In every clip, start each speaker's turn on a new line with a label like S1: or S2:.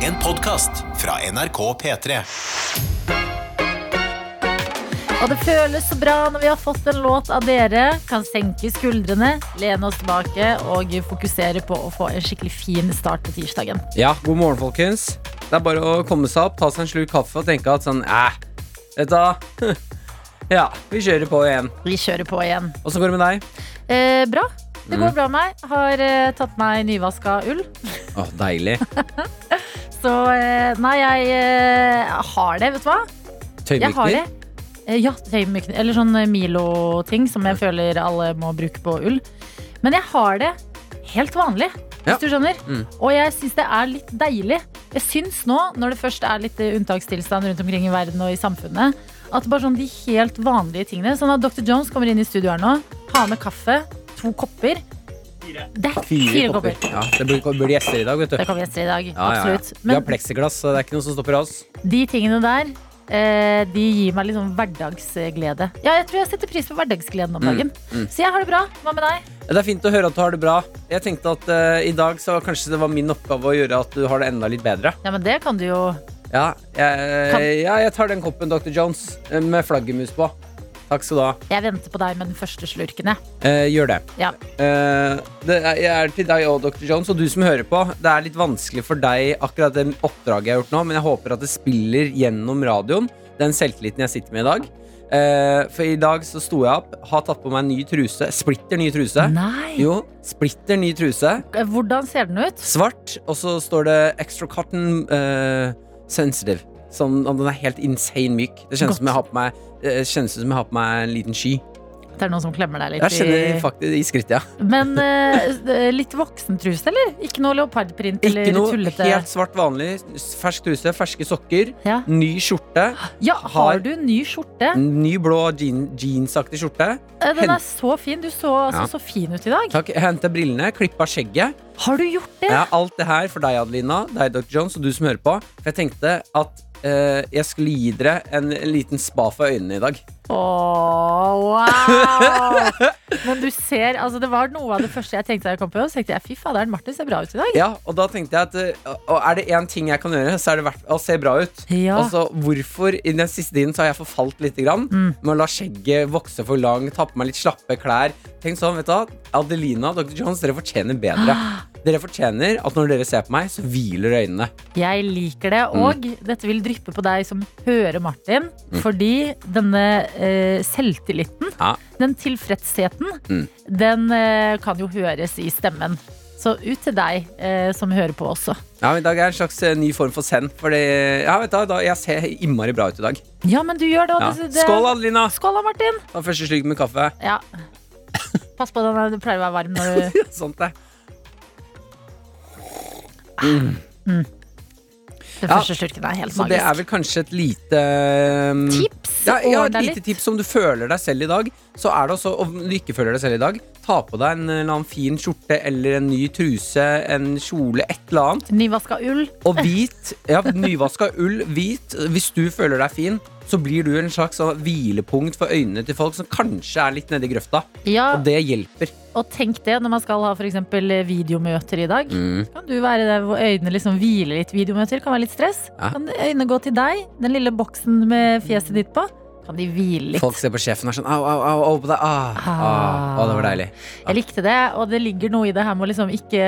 S1: En podkast fra NRK P3.
S2: Og det føles så bra når vi har fått en låt av dere. Kan senke skuldrene, lene oss tilbake og fokusere på å få en skikkelig fin start på tirsdagen.
S3: Ja, god morgen, folkens. Det er bare å komme seg opp, ta seg en slurk kaffe og tenke at sånn Æh, dette Ja, vi kjører på igjen.
S2: Vi kjører på igjen.
S3: Åssen går det med deg?
S2: Eh, bra. Det
S3: Mm.
S2: går bra med meg. Har eh, tatt meg nyvaska ull.
S3: Å, deilig.
S2: Så eh, nei, jeg eh, har det, vet du hva? Jeg har det.
S3: Tøymykner.
S2: Eh, Ja, tøymykner. Eller sånn eh, Milo-ting som jeg føler alle må bruke på ull. Men jeg har det helt vanlig, hvis
S3: Ja.
S2: du skjønner.
S3: Mm.
S2: Og jeg syns det er litt deilig. Jeg syns nå, når det først er litt eh, unntakstilstand rundt omkring i verden og i samfunnet, at bare sånn de helt vanlige tingene Sånn at Dr. Jones kommer inn i studio her nå, har med kaffe, to kopper. Det er fire, kopper.
S3: Ja, det blir, blir gjester i dag, vet du.
S2: Det kan vi gjester i dag.
S3: Ja, ja, ja.
S2: Absolutt.
S3: Vi har
S2: Men
S3: pleksiglass, så det er ikke noe som stopper oss.
S2: de tingene der eh, de gir meg liksom hverdagsglede. Ja, jeg tror jeg setter pris på hverdagsgleden om
S3: Mm,
S2: dagen. Så jeg har det bra. Hva med deg?
S3: Det er fint å høre at du har det bra. Jeg tenkte at eh, i dag så kanskje det var min oppgave å gjøre at du har det enda litt bedre.
S2: Ja, men det kan du jo
S3: Ja,
S2: Kan-
S3: jeg, ja, jeg tar den koppen Dr. Jones eh, med flaggermus på. Takk skal du ha.
S2: Jeg venter på deg med den første slurken, jeg.
S3: Eh, gjør det.
S2: Ja.
S3: Eh, det er, jeg er til deg og Dr. Jones, og du som hører på. Det er litt vanskelig for deg akkurat det oppdraget jeg har gjort nå, men jeg håper at det spiller gjennom radioen, den selvtilliten jeg sitter med i dag. Eh, for i dag så sto jeg opp, har tatt på meg en ny truse. Splitter ny truse.
S2: Nei.
S3: Jo, splitter ny truse.
S2: Hvordan ser den ut?
S3: Svart, og så står det extra cotton eh, sensitive. Sånn, og den er helt insane myk. Det
S2: Godt.
S3: kjennes som jeg har på meg, eh, kjennes ut som jeg har på meg en liten sky.
S2: Det er noen som klemmer deg
S3: Jeg
S2: litt
S3: kjenner faktisk i skrittet, ja.
S2: Men eh, litt voksentruse, eller? Ikke noe leopardprint eller
S3: Ikke noe
S2: Eh, tullete?
S3: helt svart vanlig. Fersk truse, ferske sokker,
S2: Ja.
S3: ny skjorte.
S2: ja,
S3: Har- Mm.
S2: har du ny skjorte?
S3: Ny blå jean, jeansaktig skjorte.
S2: Eh, Den
S3: hen-
S2: er så fin. Du så altså,
S3: Ja.
S2: så fin ut i dag.
S3: Takk, Henta brillene, klippa skjegget.
S2: Har du gjort det?
S3: Ja, alt det her for deg, Adelina, deg, Dr. Jones, og du som hører på. For jeg tenkte at eh, jeg skulle gi dere en, en liten spa for øynene i dag.
S2: Åh, wow! Men du ser, altså det var noe av det første jeg tenkte da jeg kom på jobb. Så tenkte jeg, fy fader, Martin ser bra ut i dag.
S3: Ja, Og da tenkte jeg at eh, og er det én ting jeg kan gjøre, så er det verdt å se bra ut.
S2: Ja.
S3: Altså, hvorfor i den siste tiden så har jeg forfalt litt grann, med å la skjegget vokse for langt, ta på meg litt slappe klær. Tenk sånn, vet du hva? Adelina og Dr. Jones, dere fortjener bedre. Dere fortjener at når dere ser på meg, så hviler øynene.
S2: Jeg liker det,
S3: Mm.
S2: og dette vil dryppe på deg som hører Martin.
S3: Mm.
S2: Fordi denne eh, selvtilliten,
S3: Ja.
S2: den tilfredsheten,
S3: Mm.
S2: den eh, kan jo høres i stemmen. Så ut til deg eh, som hører på også.
S3: Ja, men I dag er en slags eh, ny form for send. Fordi, ja, vet du, hva, da, jeg ser innmari bra ut i dag.
S2: Ja, men du gjør det. og
S3: Ja.
S2: det- det-
S3: Skål, Adelina!
S2: Skål da, Martin!
S3: Ta første slurk med kaffe.
S2: Ja. Pass på den, du pleier å være varm
S3: Eh.
S2: når du
S3: Sånt, det. Mm.
S2: Den
S3: Ja.
S2: første slurken er helt
S3: Så det er
S2: magisk.
S3: vel kanskje et lite um,
S2: Tips?
S3: Ja,
S2: Ordne
S3: ja, et
S2: deg
S3: lite tips om du føler deg selv i dag. Så er det også, Om du ikke føler deg selv i dag, ta på deg en eller annen fin skjorte eller en ny truse, en kjole, et eller annet.
S2: Nyvaska ull.
S3: Og hvit. Ja, nyvaska ull, hvit. Hvis du føler deg fin, så blir du en slags sånn hvilepunkt for øynene til folk som kanskje er litt nedi grøfta.
S2: Ja,
S3: Og det hjelper.
S2: Og tenk det når man skal ha for eksempel eh, videomøter i dag. Kan du være der hvor øynene liksom hviler litt. Videomøter kan være litt stress.
S3: Ja.
S2: Kan øynene gå til deg, den lille boksen med fjeset ditt på. Kan de hvile litt.
S3: Folk ser på sjefen og er sånn au, au, au, au på deg. Ah, ah.
S2: Ah.
S3: Å, det var deilig.
S2: Jeg likte det, og det ligger noe i det her med å liksom ikke,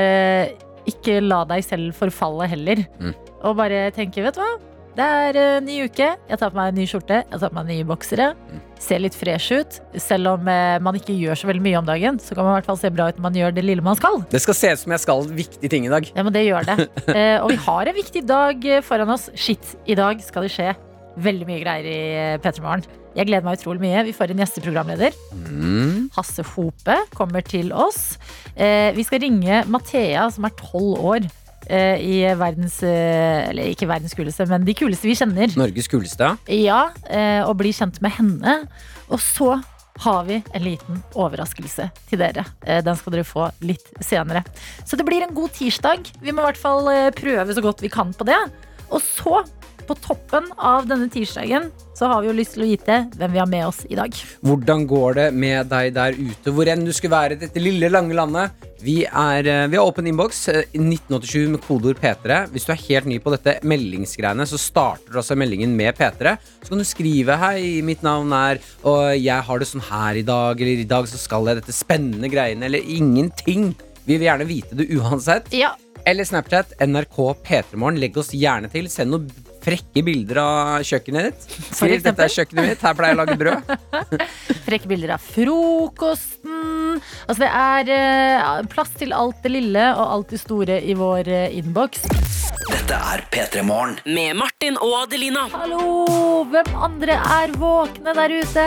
S2: ikke la deg selv forfalle heller.
S3: Mm.
S2: Og bare tenke, vet du hva. Det er eh, ny uke, jeg tar på meg en ny skjorte, jeg tar på meg nye boksere. Ser litt fresh ut. Selv om eh, man ikke gjør så veldig mye om dagen, så kan man i hvert fall se bra ut når man gjør det lille man skal.
S3: Det skal se ut som jeg skal viktige ting i dag.
S2: Ja, men det gjør det. Eh, og vi har en viktig dag eh, foran oss. Shit, i dag skal det skje veldig mye greier i eh, P3 Morgen. Jeg gleder meg utrolig mye. Vi får en gjesteprogramleder. Hasse Hope kommer til oss. Eh, vi skal ringe Mathea, som er tolv år. eh, I verdens eh, Eller ikke verdens kuleste, men de kuleste vi kjenner.
S3: Norges kuleste.
S2: Ja, eh, og bli kjent med henne. Og så har vi en liten overraskelse til dere. Eh, Den skal dere få litt senere. Så det blir en god tirsdag. Vi må i hvert fall eh, prøve så godt vi kan på det. Og så på toppen av denne tirsdagen så har vi jo lyst til å vite hvem vi har med oss i dag.
S3: Hvordan går det med deg der ute, hvor enn du skulle være i dette lille, lange landet? Vi, er, eh, vi har åpen innboks, eh, 1987 med kodeord P3. Hvis du er helt ny på dette meldingsgreiene, så starter du altså meldingen med P3. Så kan du skrive 'Hei, mitt navn er Og jeg har det sånn her i dag, eller i dag så skal jeg dette spennende greiene, eller ingenting. Vi vil gjerne vite det uansett.
S2: Ja,
S3: Eller Snapchat, NRK P3morgen. Legg oss gjerne til. Send noen frekke bilder av kjøkkenet ditt. Skriv dette er kjøkkenet mitt, her pleier jeg å lage brød.
S2: Frekke bilder av frokosten. Altså det er eh, plass til alt det lille og alt det store i vår eh, innboks.
S4: Dette er P3 Morgen.
S5: Med Martin og Adelina.
S2: Hallo! Hvem andre er våkne der ute?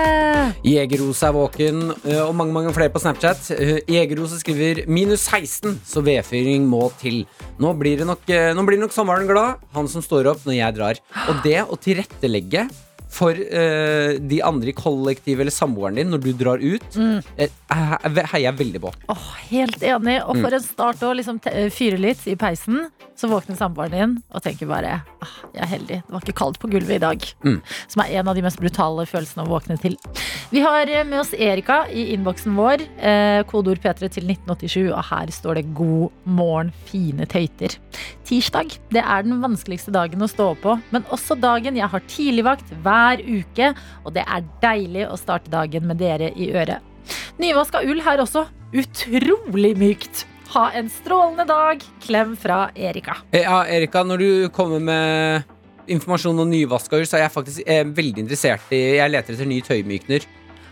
S3: Jegerose er våken, eh, og mange mange flere på Snapchat. Eh, Jegerose skriver minus 16, så vedfyring må til. Nå blir, det nok, eh, nå blir nok sommeren glad, han som står opp når jeg drar. Og det å tilrettelegge for eh, de andre i kollektivet eller samboeren din når du drar ut, eh, he- heier jeg veldig på.
S2: Åh, helt enig. Og for en start å liksom te- fyre litt i peisen. Så våkner samboeren din og tenker bare ah, jeg er heldig. Det var ikke kaldt på gulvet i dag.
S3: Mm.
S2: Som er en av de mest brutale følelsene å våkne til. Vi har eh, med oss Erika i innboksen vår. Eh, kodeord P3 til 1987, og her står det 'God morgen, fine tøyter'. Tirsdag det er den vanskeligste dagen å stå opp på, men også dagen jeg har tidligvakt hver uke, og det er deilig å starte dagen med dere i øret. Nyvaska ull her også. Utrolig mykt. Ha en strålende dag. Klem fra Erika.
S3: Eh, Ja, Erika, når du kommer med informasjon om nyvaska hus, så er jeg faktisk eh, veldig interessert i Jeg leter etter ny tøymykner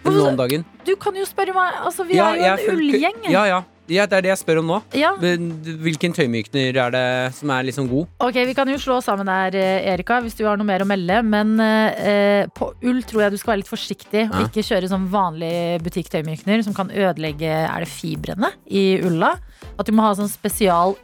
S3: nå om dagen.
S2: Du kan jo spørre meg. Altså, vi
S3: Ja,
S2: er
S3: jeg
S2: jo en
S3: fulg-
S2: ullgjeng.
S3: Ja, ja. ja, det er det jeg spør om nå.
S2: Ja,
S3: Men Hvilken tøymykner er det som er liksom god?
S2: ok, Vi kan jo slå sammen der, eh, Erika, hvis du har noe mer å melde. Men eh, eh, på ull tror jeg du skal være litt forsiktig og
S3: Ja.
S2: ikke kjøre sånn vanlig butikktøymykner som kan ødelegge Er det fibrene i ulla. At du må ha sånn spesial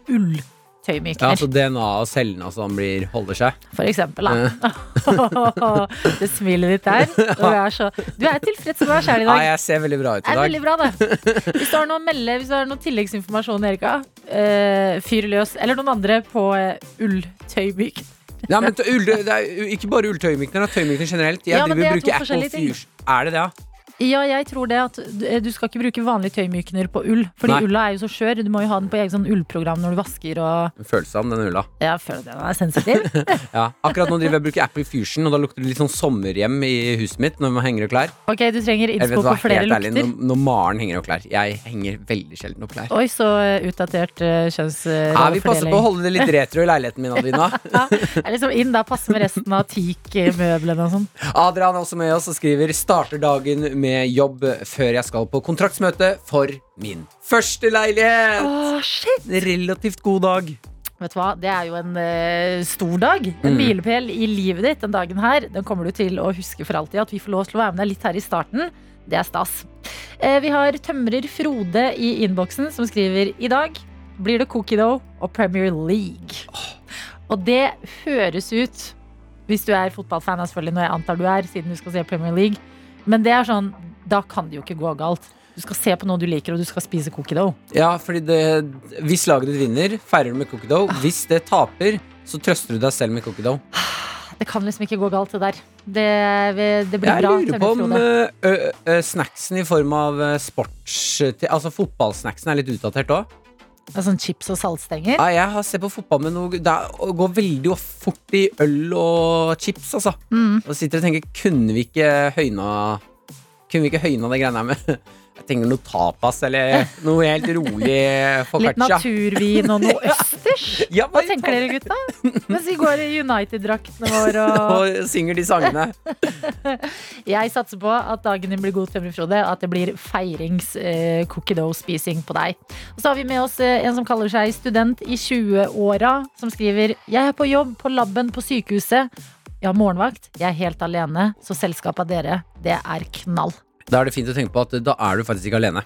S3: Ja,
S2: ulltøymykner,
S3: altså DNA og cellene altså, han blir, holder seg.
S2: for eksempel. Da.
S3: eh.
S2: det smilet ditt der. Du er, så, du er tilfreds med deg sjæl i
S3: Ja,
S2: dag.
S3: jeg ser veldig bra
S2: Det
S3: ut i
S2: er
S3: dag.
S2: veldig bra, det. Hvis du har noe å melde, hvis du har noe tilleggsinformasjon, Erika, eh, fyr løs. Eller noen andre på eh, ulltøymyk.
S3: Ja, men tø- ull, det er jo ikke bare ulltøymykner, da. Tøymykner generelt. Jeg
S2: Ja, men det er to
S3: driver og bruker Apple
S2: forskjellige ting.
S3: Fusion. Er det det, ja?
S2: Ja, jeg tror det at du, eh, du skal ikke bruke vanlig tøymykner på ull. Fordi
S3: Nei.
S2: ulla er jo så skjør. Du må jo ha den på eget sånn ullprogram når du vasker og
S3: Følsom, den ulla.
S2: Ja, føler den er sensitiv.
S3: Ja. Akkurat nå driver jeg og bruker Apple Fusion, og da lukter det litt sånn sommerhjem i huset mitt når man henger og klær.
S2: Ok, du trenger
S3: Jeg vet
S2: innspo
S3: hva,
S2: på flere
S3: helt ærlig,
S2: lukter.
S3: når, når Maren henger opp klær Jeg henger veldig sjelden opp klær
S2: Oi, så eh, utdatert uh, kjønnsfordeling.
S3: ja, Vi passer på å holde det litt retro i leiligheten min, Adina
S2: Det er liksom inn der, passe med resten av teakmøblene og sånn.
S3: Adrian er også med oss og skriver Starter dagen med jobb før jeg skal på kontraktsmøte For min første leilighet
S2: Åh, shit!
S3: En Relativt god dag
S2: Vet du hva, Det er jo en eh, stor dag. En
S3: Mm.
S2: milepæl i livet ditt den dagen her. Den kommer du til å huske for alltid. At vi får lov til å være med deg litt her i starten, det er stas. Eh, vi har tømrer Frode i innboksen som skriver i dag blir det cookie dough og Premier League. Og det høres ut, hvis du er fotballfan, er selvfølgelig, når jeg antar du er, siden du skal se Premier League, men det er sånn, da kan det jo ikke gå galt. Du skal se på noe du liker, og du skal spise cookie dough.
S3: Ja, fordi det, hvis laget ditt vinner Feirer du med cookie dough
S2: Ah.
S3: Hvis det taper, så trøster du deg selv med cookie dough
S2: Det kan liksom ikke gå galt, det der. Det, det blir
S3: Jeg
S2: bra.
S3: lurer på om
S2: tømmerfrode.
S3: ø, ø, ø, snacksen i form av ø, sports til- Altså fotballsnacksen er litt utdatert også
S2: Det er Sånn chips og saltstenger.
S3: Ja, jeg har sett på fotball med noe Det er- å gå veldig of- fort i øl og chips, altså.
S2: Mm.
S3: Og sitter og tenker Kunne vi ikke høyna Kunne vi ikke høyna det greiene her med Jeg tenker noe tapas eller noe helt rolig
S2: Litt
S3: foccaccia.
S2: naturvin og noe østers.
S3: Ja,
S2: Hva
S3: bare-
S2: tenker dere, gutta? Mens vi går i United-draktene våre og
S3: Og synger de sangene.
S2: Jeg satser på at dagen din blir god, Tømmer Frode. og At det blir feirings eh, cookie dough-spising på deg. Og så har vi med oss eh, en som kaller seg student i 20-åra, som skriver Jeg er på jobb på laben på sykehuset. Jeg har morgenvakt. Jeg er helt alene. Så selskapet av dere, det er knall.
S3: Da er det fint å tenke på at da er du faktisk ikke alene.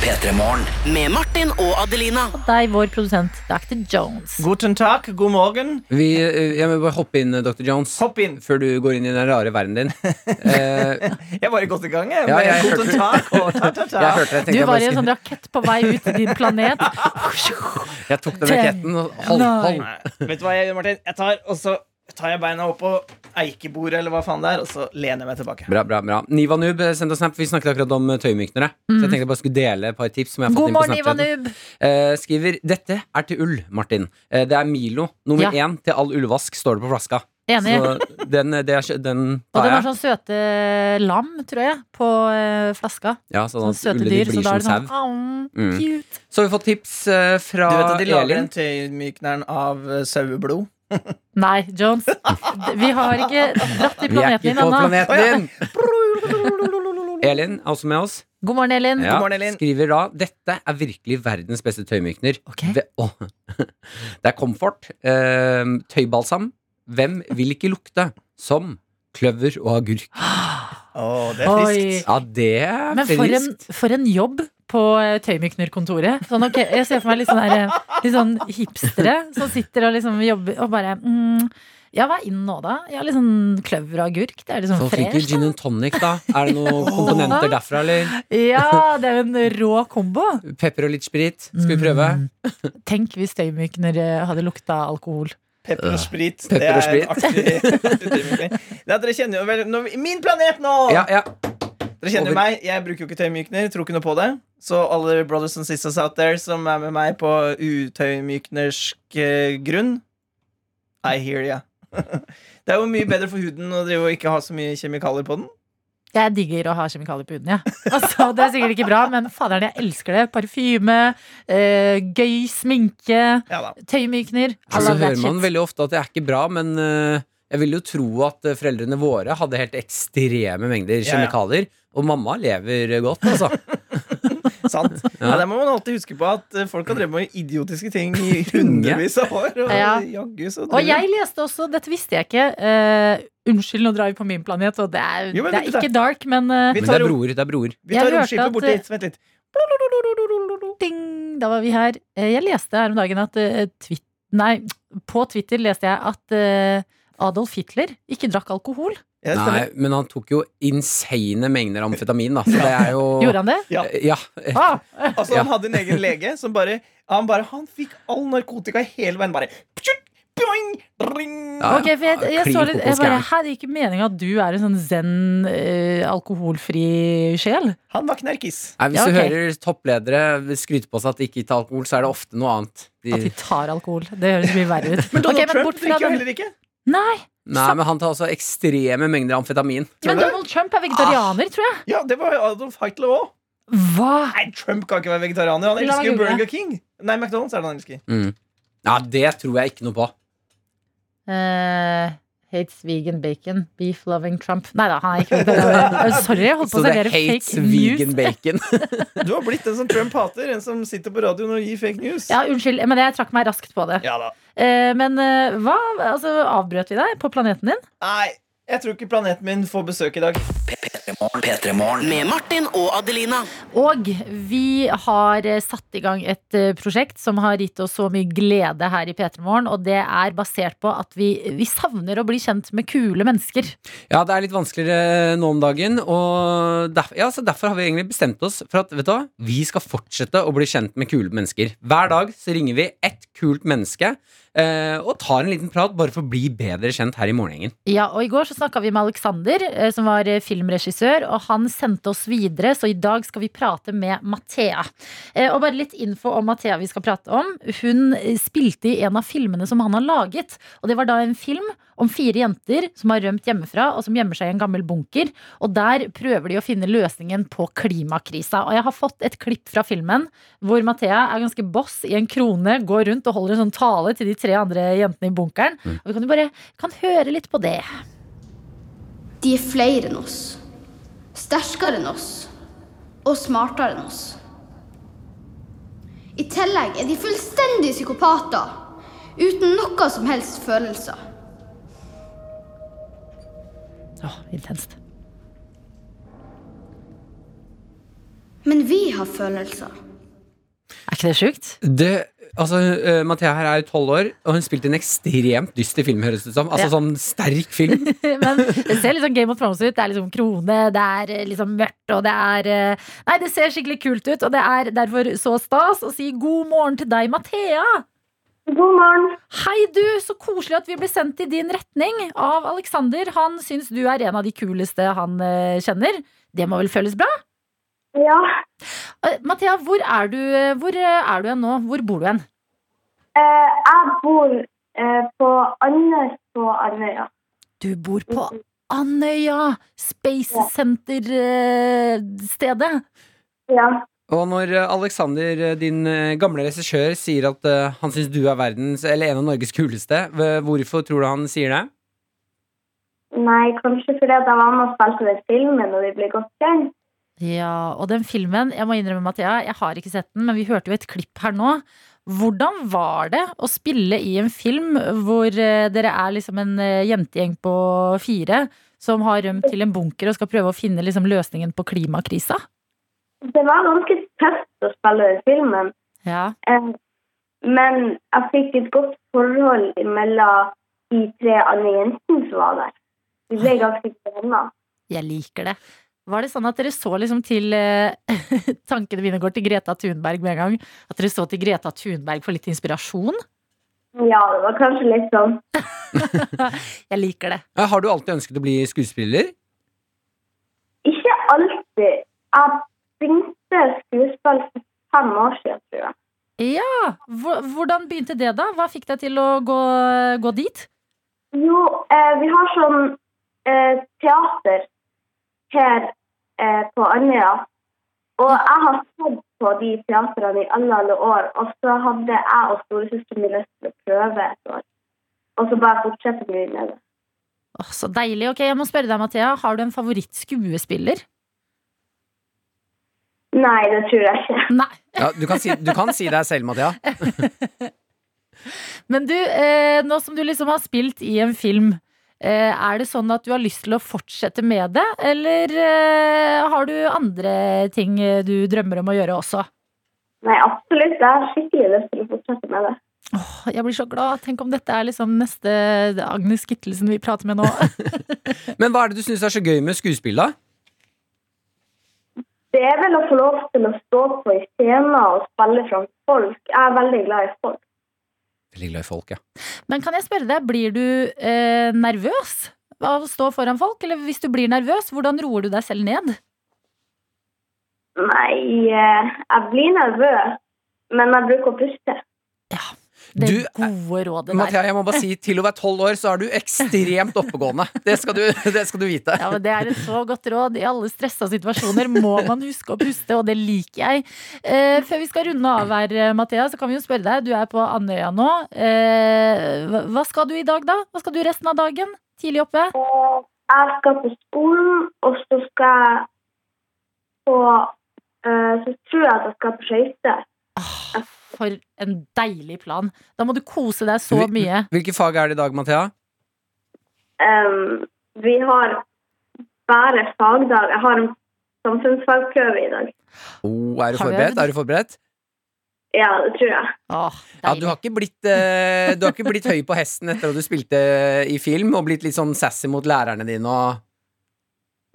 S4: P3 Morgen.
S5: Med Martin og Adelina.
S2: Deg, vår produsent Dr. Jones.
S6: Guten Tag, god morgen.
S3: Vi, ø, jeg må bare hoppe inn, Dr. Jones,
S6: Hopp inn.
S3: før du går inn i den rare verden din. Eh,
S6: Jeg var godt i gang. Jeg,
S3: Ja,
S6: med
S3: jeg
S6: Guten Tag og ta, ta, ta.
S3: jeg hørte det. Jeg, tenkte
S2: Du
S3: jeg,
S2: var
S3: bare
S2: i en
S3: skulle-
S2: sånn rakett på vei ut til din planet.
S3: jeg tok den raketten og hold,
S2: Nei.
S3: hold.
S6: Vet du hva jeg gjør, Martin? Jeg tar og så tar jeg beina opp på eikebordet, eller hva faen det er, og så lener jeg meg tilbake.
S3: Bra, bra, bra. Nivanub eh, sendte oss snap. Vi snakket akkurat om eh, tøymyknere. Så jeg tenkte jeg bare skulle dele et par tips. Som jeg har
S2: Mm.
S3: fått
S2: God
S3: inn
S2: morgen,
S3: på Snapchaten.
S2: Ivanub!
S3: Eh, skriver 'Dette er til ull', Martin. Eh, det er Milo. Nummer
S2: Ja.
S3: én til all ullvask, står det på flaska.
S2: Enig.
S3: Så den, eh, det er, ikke- den
S2: Og
S3: tar
S2: den har
S3: jeg.
S2: sånn søte lam, tror jeg, på eh, flaska.
S3: Ja, sånn
S2: Sånn
S3: at
S2: søte
S3: ullet
S2: dyr.
S3: de blir
S2: Så da
S3: som
S2: er det
S3: sau.
S2: sånn «Au,
S3: Mm.
S2: cute.
S3: Så har vi fått tips eh, fra
S6: Du vet at de lager den
S3: Elin.
S6: tøymykneren av eh, saueblod?
S2: Nei, Jones. Vi har ikke dratt i
S3: Vi er
S2: planeten din
S3: ikke på
S2: ennå.
S3: planeten din! Elin er også med oss.
S2: God morgen, Elin.
S3: Ja,
S6: morgen, Elin.
S3: Skriver da 'Dette er virkelig verdens beste tøymykner'.
S2: Ok.
S3: Ve- Åh. Det er komfort, eh, tøybalsam. Hvem vil ikke lukte som kløver og agurk?
S6: Å, det er friskt.
S2: Oi.
S3: Ja, det er
S2: Men for en,
S3: friskt.
S2: for en jobb på eh, tøymyknerkontoret. Sånn, ok, jeg ser for meg litt sånn, der, eh, litt sånn hipstere som sitter og liksom jobber og bare mm, Ja, hva er inn nå, da? Ja, litt sånn kløver og agurk. Det er liksom
S3: Sånn slik
S2: fresh.
S3: gin and tonic, da. Er det noen komponenter derfra, eller?
S2: da. Ja, det er jo en rå kombo.
S3: Pepper og litt sprit? Skal
S2: Mm.
S3: vi prøve?
S2: Tenk hvis tøymykner eh, hadde lukta alkohol.
S6: Pepper og sprit.
S3: Pepper og sprit.
S6: Det er en artig, artig tøymykner. Det er at dere kjenner jo vel nå, Min planet nå!
S3: Ja, ja.
S6: Dere kjenner
S3: Over.
S6: jo meg. Jeg bruker jo ikke tøymykner. Tror ikke noe på det. Så alle brothers and sisters out there som er med meg på utøymyknersk eh, grunn, I hear ya. det er jo mye bedre for huden å drive og ikke ha så mye kjemikalier på den.
S2: Jeg digger å ha kjemikalier på huden, jeg. Altså, det er sikkert ikke bra, men faderen, jeg elsker det. Parfyme, eh, gøy sminke,
S6: Ja da.
S2: tøymykner. I
S3: Altså,
S2: love that
S3: hører man
S2: shit.
S3: veldig ofte at det er ikke bra, men eh, jeg vil jo tro at eh, foreldrene våre hadde helt ekstreme mengder
S6: Ja, ja.
S3: kjemikalier. Og mamma lever eh, godt, altså.
S6: Sant. Ja. det må man alltid huske på, at eh, folk har drevet med idiotiske ting i hundrevis av år. Og
S2: Ja.
S6: jaggu så
S2: Og
S6: driver-
S2: jeg leste også, dette visste jeg ikke eh, Unnskyld, nå drar vi på min planet, og det er,
S6: Jo, men
S2: det er
S6: vet du
S2: ikke dark, men eh,
S6: Vi
S3: Men det
S6: tar
S3: er
S6: ro-
S3: broer. det er broer
S6: Vi
S2: Jeg
S6: tar
S2: hørte
S6: romskipet
S2: at,
S6: bort
S2: eh,
S6: dit. Vent litt.
S2: ding, da var vi her. Eh, jeg leste her om dagen at eh, twi- Nei, på Twitter leste jeg at eh, Adolf Hitler ikke drakk alkohol.
S6: Ja, det
S3: Nei,
S6: stemmer.
S3: men han tok jo insane mengder amfetamin, da. Så det er
S2: Gjorde
S3: jo Eh,
S2: han det?
S6: Ja.
S3: Ja.
S2: Ah,
S6: Altså,
S3: Ja.
S6: han hadde en egen lege som bare Han, bare, han fikk all narkotika hele veien. Bare pshut, boing, ring.
S3: Ja,
S2: ok, for jeg, jeg, så
S3: klin
S2: litt, jeg
S3: kokos
S2: bare,
S3: gæren.
S2: Her er ikke meninga at du er en sånn zen, eh, alkoholfri sjel.
S6: Han var knerkis.
S3: Nei, hvis
S2: Ja,
S3: du
S2: ok.
S3: hører toppledere skryte på seg at de ikke tar alkohol, så er det ofte noe annet.
S2: At
S3: De,
S2: vi tar alkohol. Det høres mye verre ut.
S6: Men Donald
S2: Ok, men bort
S6: Trump
S2: fra
S6: drikker jo
S2: den-
S6: heller ikke.
S2: Nei,
S3: nei, men han tar også ekstreme mengder amfetamin.
S2: men
S6: du det? Ah.
S2: Donald Trump er vegetarianer, tror jeg.
S6: Ja, Det var jo Adolf Hitler òg.
S2: Hva?
S6: Nei, Trump kan ikke være vegetarianer.
S2: La
S6: Han
S2: meg
S6: elsker jo
S2: google.
S6: Burger King. Nei, McDonald's er det han elsker.
S3: Mm. Ja, det tror jeg ikke noe på.
S2: Eh, hates vegan bacon, beef loving Trump. Nei da, han er ikke vegetarianer. Eh, Sorry, jeg holdt på
S3: Så
S2: å
S3: det
S2: servere
S3: hates
S2: fake
S3: vegan
S2: news.
S3: bacon.
S6: Du har blitt den som Trump hater. En som sitter på radioen og gir fake news.
S2: Ja, Unnskyld, men jeg trakk meg raskt på det.
S6: Ja da.
S2: Eh, men eh, hva? Altså, avbrøt vi deg på planeten din?
S6: Nei, jeg tror ikke planeten min får besøk i dag.
S4: P3morgen. P3morgen.
S5: Med Martin og Adelina.
S2: Og vi har eh, satt i gang et eh, prosjekt som har gitt oss så mye glede her i P3 Morgen, og det er basert på at vi, vi savner å bli kjent med kule mennesker.
S3: Ja, det er litt vanskeligere eh, nå om dagen, og derf ja, så derfor har vi egentlig bestemt oss for at vet du hva? vi skal fortsette å bli kjent med kule mennesker. Hver dag så ringer vi ett kult menneske eh, og tar en liten prat bare for å bli bedre kjent her i morgengjengen.
S2: Ja, og I går så snakka vi med Alexander, eh, som var eh, filmregissør, og han sendte oss videre, så i dag skal vi prate med Mathea. Eh, Og bare litt info om Mathea vi skal prate om. Hun eh, spilte i en av filmene som han har laget. Og det var da en film om fire jenter som har rømt hjemmefra, og som gjemmer seg i en gammel bunker. Og der prøver de å finne løsningen på klimakrisa. Og jeg har fått et klipp fra filmen hvor Mathea er ganske boss i en krone, går rundt og holder en sånn tale til de tre andre jentene i bunkeren. Og vi kan jo bare kan høre litt på det.
S7: De er flere enn oss. Sterkere enn oss. Og smartere enn oss. I tillegg er de fullstendige psykopater. Uten noe som helst følelser.
S2: Åh, intenst.
S7: Men vi har følelser.
S2: Er ikke det sjukt?
S3: Det, altså, eh, Mathea her er jo tolv år, og hun spilte en ekstremt dyster film, høres det ut som. Altså
S2: Ja.
S3: sånn sterk film.
S2: Men det ser litt sånn Game of Thrones ut. Det er liksom krone, det er eh, liksom mørkt, og det er eh, Nei, det ser skikkelig kult ut, og det er derfor så stas å si god morgen til deg, Mathea!
S8: God morgen.
S2: Hei du, så koselig at vi ble sendt i din retning av Alexander. Han syns du er en av de kuleste han eh, kjenner. Det må vel føles bra?
S8: Ja,
S2: Eh, Mathea, hvor er du, hvor eh, er du hen nå? Hvor bor du hen?
S8: eh, jeg bor eh, på Andøy på Andøya.
S2: Du bor på Andøya! Space eh, Center-stedet.
S8: Ja.
S3: Og når eh, Alexander, eh, din eh, gamle regissør, sier at eh, han syns du er verdens, eller en av Norges kuleste, hv- hvorfor tror du han sier det?
S8: Nei, kanskje fordi at jeg var med og spilte den filmen og vi ble godt kjent.
S2: Ja, og den filmen, jeg må innrømme Mathea, jeg har ikke sett den, men vi hørte jo et klipp her nå. Hvordan var det å spille i en film hvor eh, dere er liksom en eh, jentegjeng på fire som har rømt til en bunker og skal prøve å finne liksom løsningen på klimakrisa?
S8: Det var ganske tøft å spille den filmen,
S2: Ja.
S8: eh, men jeg fikk et godt forhold mellom de tre andre jentene som var der. Vi ble ganske gode venner.
S2: Jeg liker det. Var det sånn at dere så liksom til eh, Tankene mine går til Greta Thunberg med en gang. At dere så til Greta Thunberg for litt inspirasjon?
S8: Ja, det var kanskje litt sånn.
S2: Jeg liker det.
S3: Eh, Har du alltid ønsket å bli skuespiller?
S8: Ikke alltid. Jeg begynte skuespill for fem år siden, tror jeg.
S2: Ja! hvor- Hvordan begynte det, da? Hva fikk deg til å gå, gå dit?
S8: Jo, eh, vi har sånn eh, teater her eh, på Andøya. Og jeg har sett på de teatrene i alle, alle år. Og så hadde jeg og storesøsteren min lyst til å prøve et år. Og så bare fortsette vi med det.
S2: Åh, så deilig. Ok, jeg må spørre deg, Mathea. Har du en favorittskuespiller?
S8: Nei, det tror jeg ikke.
S2: Nei.
S3: Ja, du kan si, du kan si deg selv, Mathea.
S2: Men du, eh, nå som du liksom har spilt i en film, eh, er det sånn at du har lyst til å fortsette med det? Eller eh, har du andre ting eh, du drømmer om å gjøre også?
S8: Nei, absolutt. Jeg har skikkelig lyst til å fortsette med det.
S2: Åh, jeg blir så glad. Tenk om dette er liksom neste Agnes Kittelsen vi prater med nå.
S3: Men hva er det du syns er så gøy med skuespill, da?
S8: Det er vel å få lov til å stå på i scenen og spille framfor folk. Jeg er veldig glad i folk.
S3: Veldig glad i folk, ja.
S2: Men kan jeg spørre deg, blir du eh, nervøs av å stå foran folk? Eller hvis du blir nervøs, hvordan roer du deg selv ned?
S8: Nei, eh, jeg blir nervøs, men jeg bruker å puste.
S2: Det
S3: Du-
S2: gode rådet der.
S3: Mathea, jeg må bare si, til å være tolv år, så er du ekstremt oppegående. Det skal du, det skal du vite.
S2: Ja, men Det er et så godt råd. I alle stressa situasjoner må man huske å puste, og det liker jeg. Eh, før vi skal runde av her, eh, Mathea, så kan vi jo spørre deg. Du er på Andøya nå. Eh, hva- hva skal du i dag, da? Hva skal du resten av dagen? Tidlig oppe?
S8: Og jeg skal på skolen, og så skal jeg på eh, Så tror jeg at jeg skal på skøyter.
S2: Ah, for en deilig plan. Da må du kose deg så
S3: Hvil-
S2: mye.
S3: Hvilke fag er det i dag, Mathea?
S8: Em, vi har bare fagdag. Jeg har en samfunnsfagprøve i dag.
S3: Oh, er du
S2: Har vi
S3: forberedt?
S2: øvd?
S3: Er du forberedt?
S8: Ja, det tror jeg.
S2: Åh,
S3: Ja, du
S2: deilig.
S3: har ikke blitt, eh, du har ikke blitt høy på hesten etter at du spilte eh, i film, og blitt litt sånn sassy mot lærerne dine og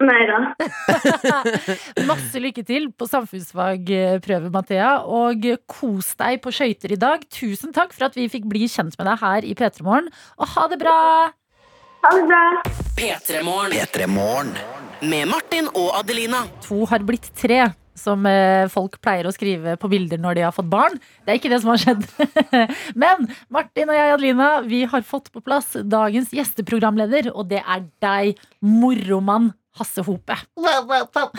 S8: Nei da.
S2: Masse lykke til på samfunnsfagprøve, Mathea. Og kos deg på skøyter i dag. Tusen takk for at vi fikk bli kjent med deg her i P3 Morgen. Og ha det bra!
S8: Ha det bra.
S5: P3morgen.
S4: P3morgen.
S5: Med Martin og Adelina.
S2: to har blitt tre. Som eh, folk pleier å skrive på bilder når de har fått barn. Det er ikke det som har skjedd. Men Martin og jeg, Adelina, vi har fått på plass dagens gjesteprogramleder, og det er deg, moromann Hasse Hope.
S3: Oi, oi,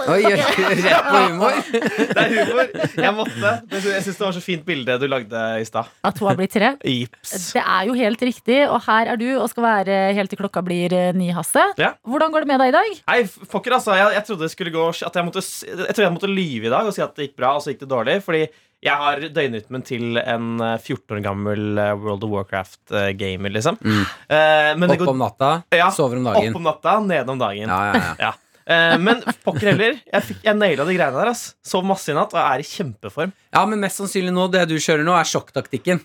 S3: oi, rett på humor!
S6: Det er humor. Jeg måtte. Det- Jeg syns det var så fint bilde du lagde i stad.
S2: At hun har blitt tre.
S6: Jips.
S2: Det er jo helt riktig, og her er du og skal være helt til klokka blir eh, ni, Hasse.
S6: Ja.
S2: Hvordan går det med deg i dag?
S6: Nei, pokker, altså. Jeg, jeg trodde det skulle gå At jeg måtte s- Jeg tror jeg måtte lyve i dag og si at det gikk bra, og så gikk det dårlig. Fordi jeg har døgnrytmen til en eh, 14 år gammel eh, World of Warcraft-gamer, liksom.
S3: Mm.
S6: Eh, men det
S3: Opp
S6: går
S3: om natta,
S6: Ja,
S3: sover om
S6: opp
S3: dagen.
S6: om natta, nede om dagen.
S3: Ja, ja, ja.
S6: Ja. Eh, men pokker heller. Jeg, fikk, jeg naila de greiene der. ass Sov masse i natt og er i kjempeform.
S3: ja, men mest sannsynlig nå, det du kjører nå, er sjokktaktikken.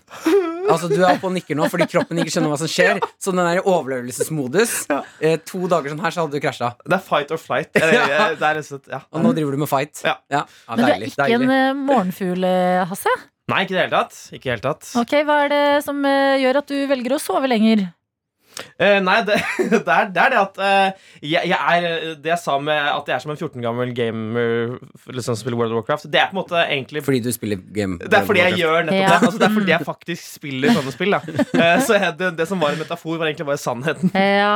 S3: Altså, Du er oppe og nikker nå fordi kroppen ikke skjønner hva som skjer. Så den er i overlevelsesmodus. Eh, to dager sånn her, så hadde du krasja.
S6: Det er fight or flight. Eh,
S3: Ja.
S6: eh, Det er rett og slett, ja.
S3: Og nå driver du med fight.
S6: Ja.
S3: ja.
S2: Men du er
S3: deilig,
S2: ikke en
S3: deilig.
S2: eh, morgenfugl, eh, Hasse?
S9: Nei, ikke i det hele tatt. Ikke i det hele tatt.
S2: Ok, Hva er det som eh, gjør at du velger å sove lenger?
S9: Eh, nei, det, det, er, det er det at eh, jeg, jeg er Det jeg sa med at jeg er som en 14 gammel gamer liksom, som spiller World of Warcraft, det er på en måte egentlig
S3: Fordi du spiller game.
S9: det er fordi jeg gjør nettopp
S2: Ja.
S9: det. Altså, det er fordi jeg faktisk spiller sånne spill. Da. Eh, Så jeg, det, det som var en metafor, var egentlig bare sannheten.
S2: Eh, Ja,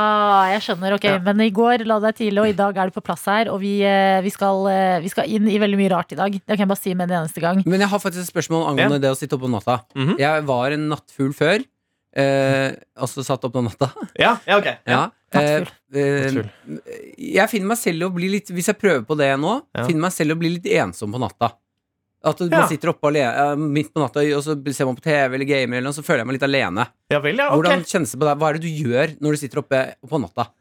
S2: jeg skjønner. ok Men i går la deg tidlig, og i dag er du på plass her. Og vi, eh, vi, skal, eh, vi skal inn i veldig mye rart i dag. Det kan jeg bare si med en eneste gang.
S3: Men jeg har faktisk et spørsmål angående det å sitte oppe om natta.
S9: Mhm.
S3: Jeg var en nattfugl før. Eh, altså satt opp om natta.
S9: Ja, ja ok
S3: Ja.
S2: Nattfugl.
S3: Eh, eh,
S9: Nattfugl.
S3: jeg finner meg selv å bli litt Hvis jeg prøver på det nå,
S9: Ja.
S3: finner meg selv å bli litt ensom på natta. At man
S9: Ja.
S3: sitter oppe alene, eh, midt på natta, og så ser man på TV eller gamer, eller noe, så føler jeg meg litt alene.
S9: Ja vel, ja. ok
S3: Hvordan kjennes det på deg? Hva er det du gjør når du sitter oppe på natta?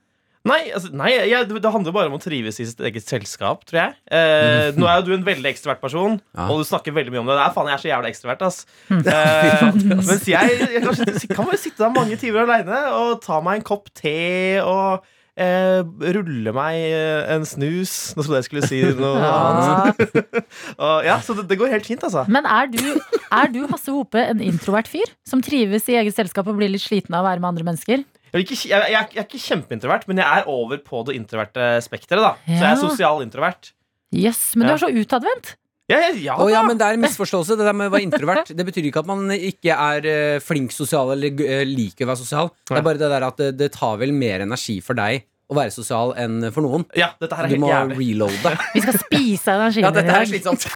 S9: Nei, altså, nei jeg, det handler bare om å trives i sitt eget selskap, tror jeg. Eh, nå er jo du en veldig ekstrovert person,
S3: Mhm. Ja.
S9: og du snakker veldig mye om det. Det er faen, jeg er så jævla ekstrovert, ass. Eh, mens jeg, jeg kan, sitte- kan bare sitte der mange timer aleine og ta meg en kopp te og eh, rulle meg eh, en snus. Nå trodde jeg skulle si noe annet.
S2: Ja.
S9: Og, ja, så det, det går helt fint, altså.
S2: Men er du, er du Hasse Hope en introvert fyr? Som trives i eget selskap og blir litt sliten av å være med andre mennesker?
S9: Jeg er ikke, jeg, jeg, er- jeg er ikke kjempeintrovert, men jeg er over på det introverte spekteret, da. Så jeg er
S2: Ja.
S9: sosial introvert.
S2: Yes, Men du
S9: Ja.
S2: er så utadvendt!
S9: Ja, ja, ja,
S3: Å ja,
S9: da.
S3: men Det er en misforståelse. Det der med å være introvert Det betyr ikke at man ikke er eh, flink sosial eller eh, liker å være sosial. Det
S9: Ja.
S3: er bare det der at det, det tar vel mer energi for deg å være sosial enn for noen.
S9: ja, dette her er
S3: Du
S9: helt
S3: må
S9: jævlig.
S3: reloade.
S2: Vi skal spise av energien
S3: Ja,
S2: din
S3: dette
S2: i
S3: er
S2: dag.
S3: slitsomt.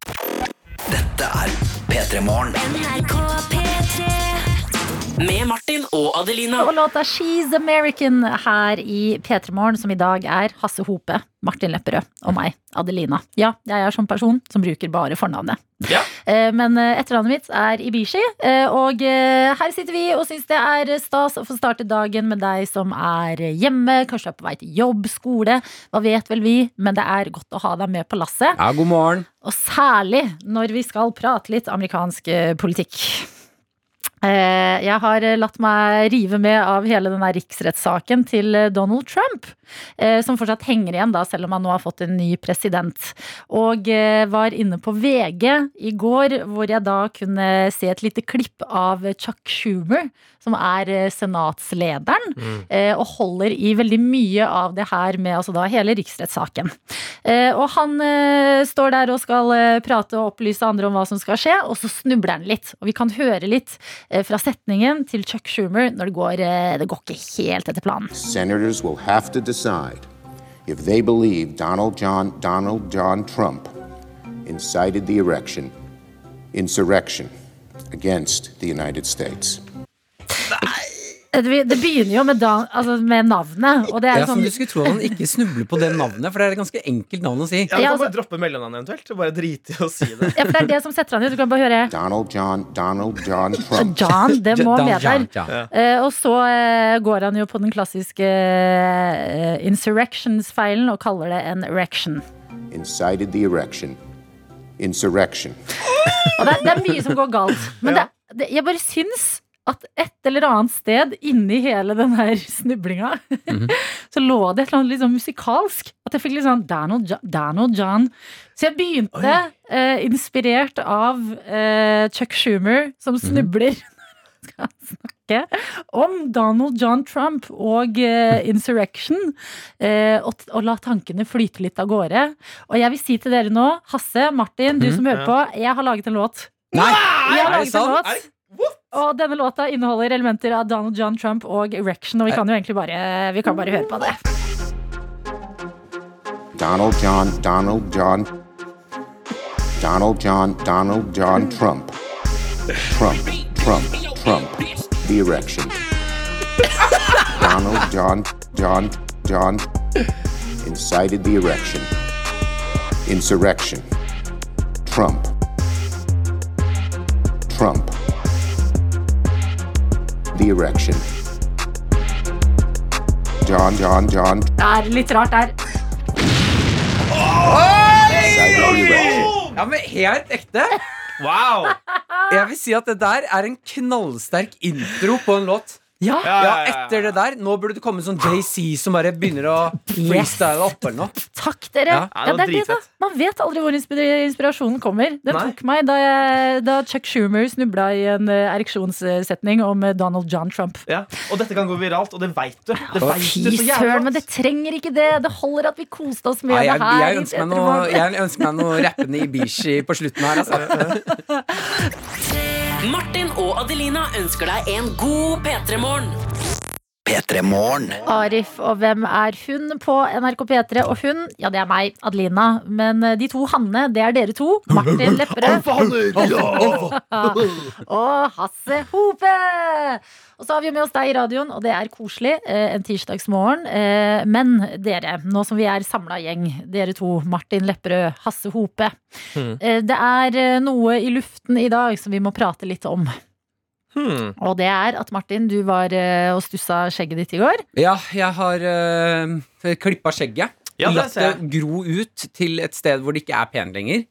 S4: Dette er P3 Morgen.
S5: Med Martin og Adelina.
S2: Og låta She's American her i P3 Morgen, som i dag er Hasse Hope, Martin Lepperød og meg, Adelina. Ja, jeg er sånn person som bruker bare fornavnet.
S9: Ja.
S2: Eh, Men eh, etternavnet mitt er Ibishi, eh, og eh, her sitter vi og syns det er stas å få starte dagen med deg som er hjemme, kanskje er på vei til jobb, skole, hva vet vel vi, men det er godt å ha deg med på lasset.
S3: Ja, god morgen.
S2: Og særlig når vi skal prate litt amerikansk eh, politikk. Eh, Jeg har eh, latt meg rive med av hele denne riksrettssaken til eh, Donald Trump. eh, Som fortsatt henger igjen, da, selv om han nå har fått en ny president. Og eh, var inne på VG i går, hvor jeg da kunne se et lite klipp av Chuck Schumer, som er eh, senatslederen, eh, og holder i veldig mye av det her med altså da hele riksrettssaken. Eh, og han eh, står der og skal eh, prate og opplyse andre om hva som skal skje, og så snubler han litt. Og vi kan høre litt eh, fra setningen til Chuck Schumer når det går, eh, det går ikke helt etter planen.
S10: Senators will have to decide if they believe Donald John Donald John Trump incited the erection insurrection against the United States.
S2: Eh, Det det begynner jo med, da, altså med navnet, og det er
S3: Ja,
S2: jo
S3: som
S2: sånn
S3: du skulle tro at han ikke snubler på det navnet, for det er et ganske enkelt navn å si.
S9: Ja, du
S2: Ja,
S9: kan
S2: altså-
S9: bare droppe mellomnavnet eventuelt. og Bare drite i å si det.
S2: ja, for Det er det som setter han ut. Du kan bare høre
S10: Donald John Donald John Trump
S2: John, det må
S3: Don
S2: med der.
S3: John, ja.
S2: Eh, og så eh, går han jo på den klassiske eh, insurrections-feilen og kaller det en erection.
S10: incited the erection insurrection.
S2: Og det, er- det er mye som går galt. Men det, det, jeg bare syns at et eller annet sted inni hele den her snublinga, så lå det et eller annet litt sånn musikalsk. At jeg fikk litt sånn Donald, Jo- Donald John. Så jeg begynte, eh, inspirert av eh, Chuck Schumer, som snubler når han skal snakke om Donald John Trump og eh, insurrection, eh, og, t- og la tankene flyte litt av gårde. Og jeg vil si til dere nå, Hasse, Martin, du som hører på, jeg har laget en låt.
S3: Nei!
S2: Jeg har
S3: Er
S2: laget
S3: det
S2: en
S3: sant?
S2: låt og denne låta inneholder elementer av Donald John Trump og Erection.
S3: Eh.
S2: Og vi kan jo egentlig bare, vi kan bare høre på det.
S10: Donald John Donald John Donald John Donald John Trump Trump Trump Trump the erection Donald John John John incited the erection insurrection Trump Trump the erection John John John
S2: Det er litt rart der.
S10: incited the erection
S3: Ja, men helt ekte.
S9: Wow!
S3: Jeg vil si at det der er en knallsterk intro på en låt. Ja,
S9: Ja, ja, ja, ja.
S3: etter det der. Nå burde det komme sånn JC som bare begynner å freestyle opp eller noe.
S2: Takk, dere!
S3: Ja.
S2: Ja, det
S9: Ja, det var
S2: er det da.
S9: dritfett.
S2: Man vet aldri hvor inspir- inspirasjonen kommer. Den
S9: Nei.
S2: tok meg da, jeg, da Chuck Schumer snubla i en eh, ereksjonssetning om eh, Donald John Trump.
S9: Ja. Og dette kan gå viralt, og det veit du. Det
S3: Å,
S9: vet du
S2: Fy
S9: så jævlig
S2: søren, men det
S9: godt.
S2: trenger ikke det! Det holder at vi koste oss med
S3: Nei, jeg,
S2: det her.
S3: jeg,
S2: i
S3: ønsker meg
S2: Petter
S3: noe,
S2: Morgen.
S3: jeg ønsker meg noe rappende Ibishi på slutten her, altså.
S5: Martin og Adelina ønsker deg en god P3-morgen.
S4: P3 Morgen.
S2: Arif og Hvem er hun på NRK P3. Og hun, ja det er meg, Adelina. Men eh, de to Hanne, det er dere to. Martin Lepperød og Hasse Hope. Og så har vi med oss deg i radioen, og det er koselig eh, en tirsdagsmorgen. Eh, Men dere, nå som vi er samla gjeng, dere to, Martin Lepperød, Hasse Hope. eh, Det er eh, noe i luften i dag som vi må prate litt om.
S9: Hmm.
S2: Og det er at Martin, du var eh, og stussa skjegget ditt i går.
S3: Ja, jeg har uh, klippa skjegget.
S9: Ja, det
S3: latt
S9: ser
S3: det
S9: jeg.
S3: gro ut til et sted hvor det ikke er pen lenger.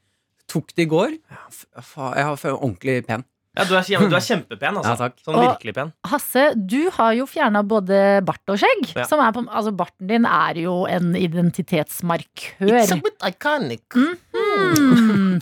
S3: Tok det i går. Ja, f- fa- Jeg har f- ordentlig pen.
S9: Ja, du, er, kjem- du er kjempepen, altså.
S3: Ja, takk.
S9: Sånn
S2: Og-
S9: virkelig pen.
S2: Hasse, du har jo fjerna både bart og skjegg.
S9: Ja.
S2: Som er på, altså Barten din er jo en identitetsmarkør. Mm.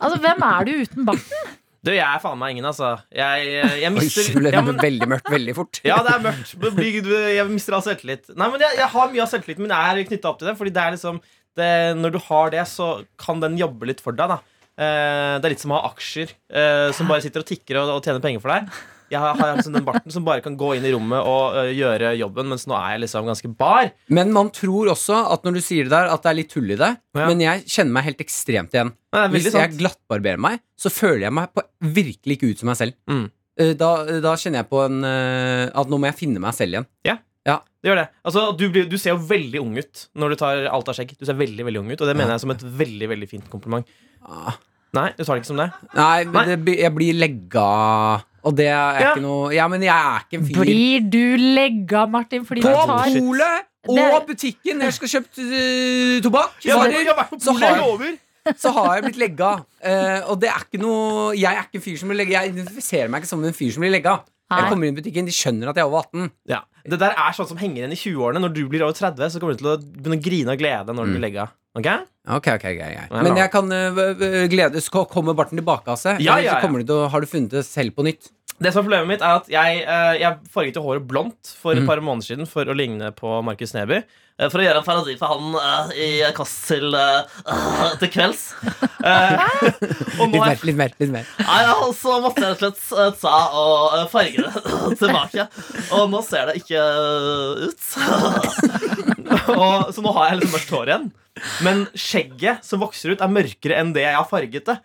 S2: Altså, hvem er du uten barten?
S9: Du, jeg er faen meg ingen, altså. Jeg, jeg
S3: Oi,
S9: mister
S3: det ble
S9: ja, men,
S3: veldig mørkt veldig fort.
S9: ja, det er mørkt. Det blir- du- Jeg mister all selvtillit. Nei, men jeg, jeg har mye av selvtilliten min er knytta opp til det. Fordi det er liksom det, Når du har det, så kan den jobbe litt for deg, da. Eh, det er litt som å ha aksjer eh, som bare sitter og tikker og, og tjener penger for deg. Jeg har, har liksom den barten som bare kan gå inn i rommet og eh, gjøre jobben, mens nå er jeg liksom ganske bar.
S3: Men man tror også at når du sier det der, at det er litt hull i det.
S9: Ja.
S3: Men jeg kjenner meg helt ekstremt igjen.
S9: Men det er
S3: Hvis
S9: veldig
S3: jeg
S9: sant.
S3: glattbarberer meg, så føler jeg meg på, virkelig ikke ut som meg selv.
S9: Mm.
S3: Eh, Da, da kjenner jeg på en, eh, at nå må jeg finne meg selv igjen.
S9: Det gjør det. Altså, du, blir, du ser jo veldig ung ut når du tar alt av skjegg. Du ser veldig, veldig ung ut, Og det mener jeg som et veldig veldig fint kompliment.
S3: Ah.
S9: Nei, du tar det ikke som det?
S3: Nei, men
S9: Nei.
S3: det, blir- jeg blir legga Og det er
S9: Ja.
S3: ikke noe Ja, men jeg er ikke en fyr.
S2: Blir du legga, Martin, fordi du
S3: På
S2: tar
S3: polet og butikken når jeg skal kjøpe eh, tobakk,
S9: Ja, men,
S3: varer,
S9: jeg har vært på
S3: så,
S9: polet, jeg
S3: har,
S9: lover!
S3: så har jeg blitt legga. Eh, og det er ikke noe Jeg er ikke en fyr som blir legga. Jeg identifiserer meg ikke som en fyr som blir legga. Jeg
S2: Nei.
S3: kommer inn i butikken, de skjønner at jeg er over 18.
S9: Ja. Det der er sånn som henger igjen i 20-årene. Når du blir over 30, så kommer du til å begynne å grine av glede når du blir legga. Ok?
S3: Ok, ok, grei, grei.
S9: Ja,
S3: Mm. Men
S9: da.
S3: jeg kan eh, v- v- glede så Kommer barten tilbake av seg?
S9: Ja,
S3: eller
S9: ja,
S3: så
S9: ja.
S3: kommer du til å, har du funnet det selv på nytt?
S9: Det som er Problemet mitt er at jeg, eh, jeg farget jo håret blondt for
S3: Mm.
S9: et par måneder siden for å ligne på Markus Neby. eh, For å gjøre en parodi på han eh, i Kåss til, eh, til kvelds. Eh, og
S3: Litt
S9: nå er
S3: mer, litt mer. litt mer
S9: Nei, ja, og
S11: altså,
S9: så måtte jeg rett og slett eh, ta og eh, farge det tilbake. Og nå ser det ikke eh, ut. og, så nå har jeg liksom mørkt hår igjen. Men skjegget som vokser ut, er mørkere enn det jeg har farget det.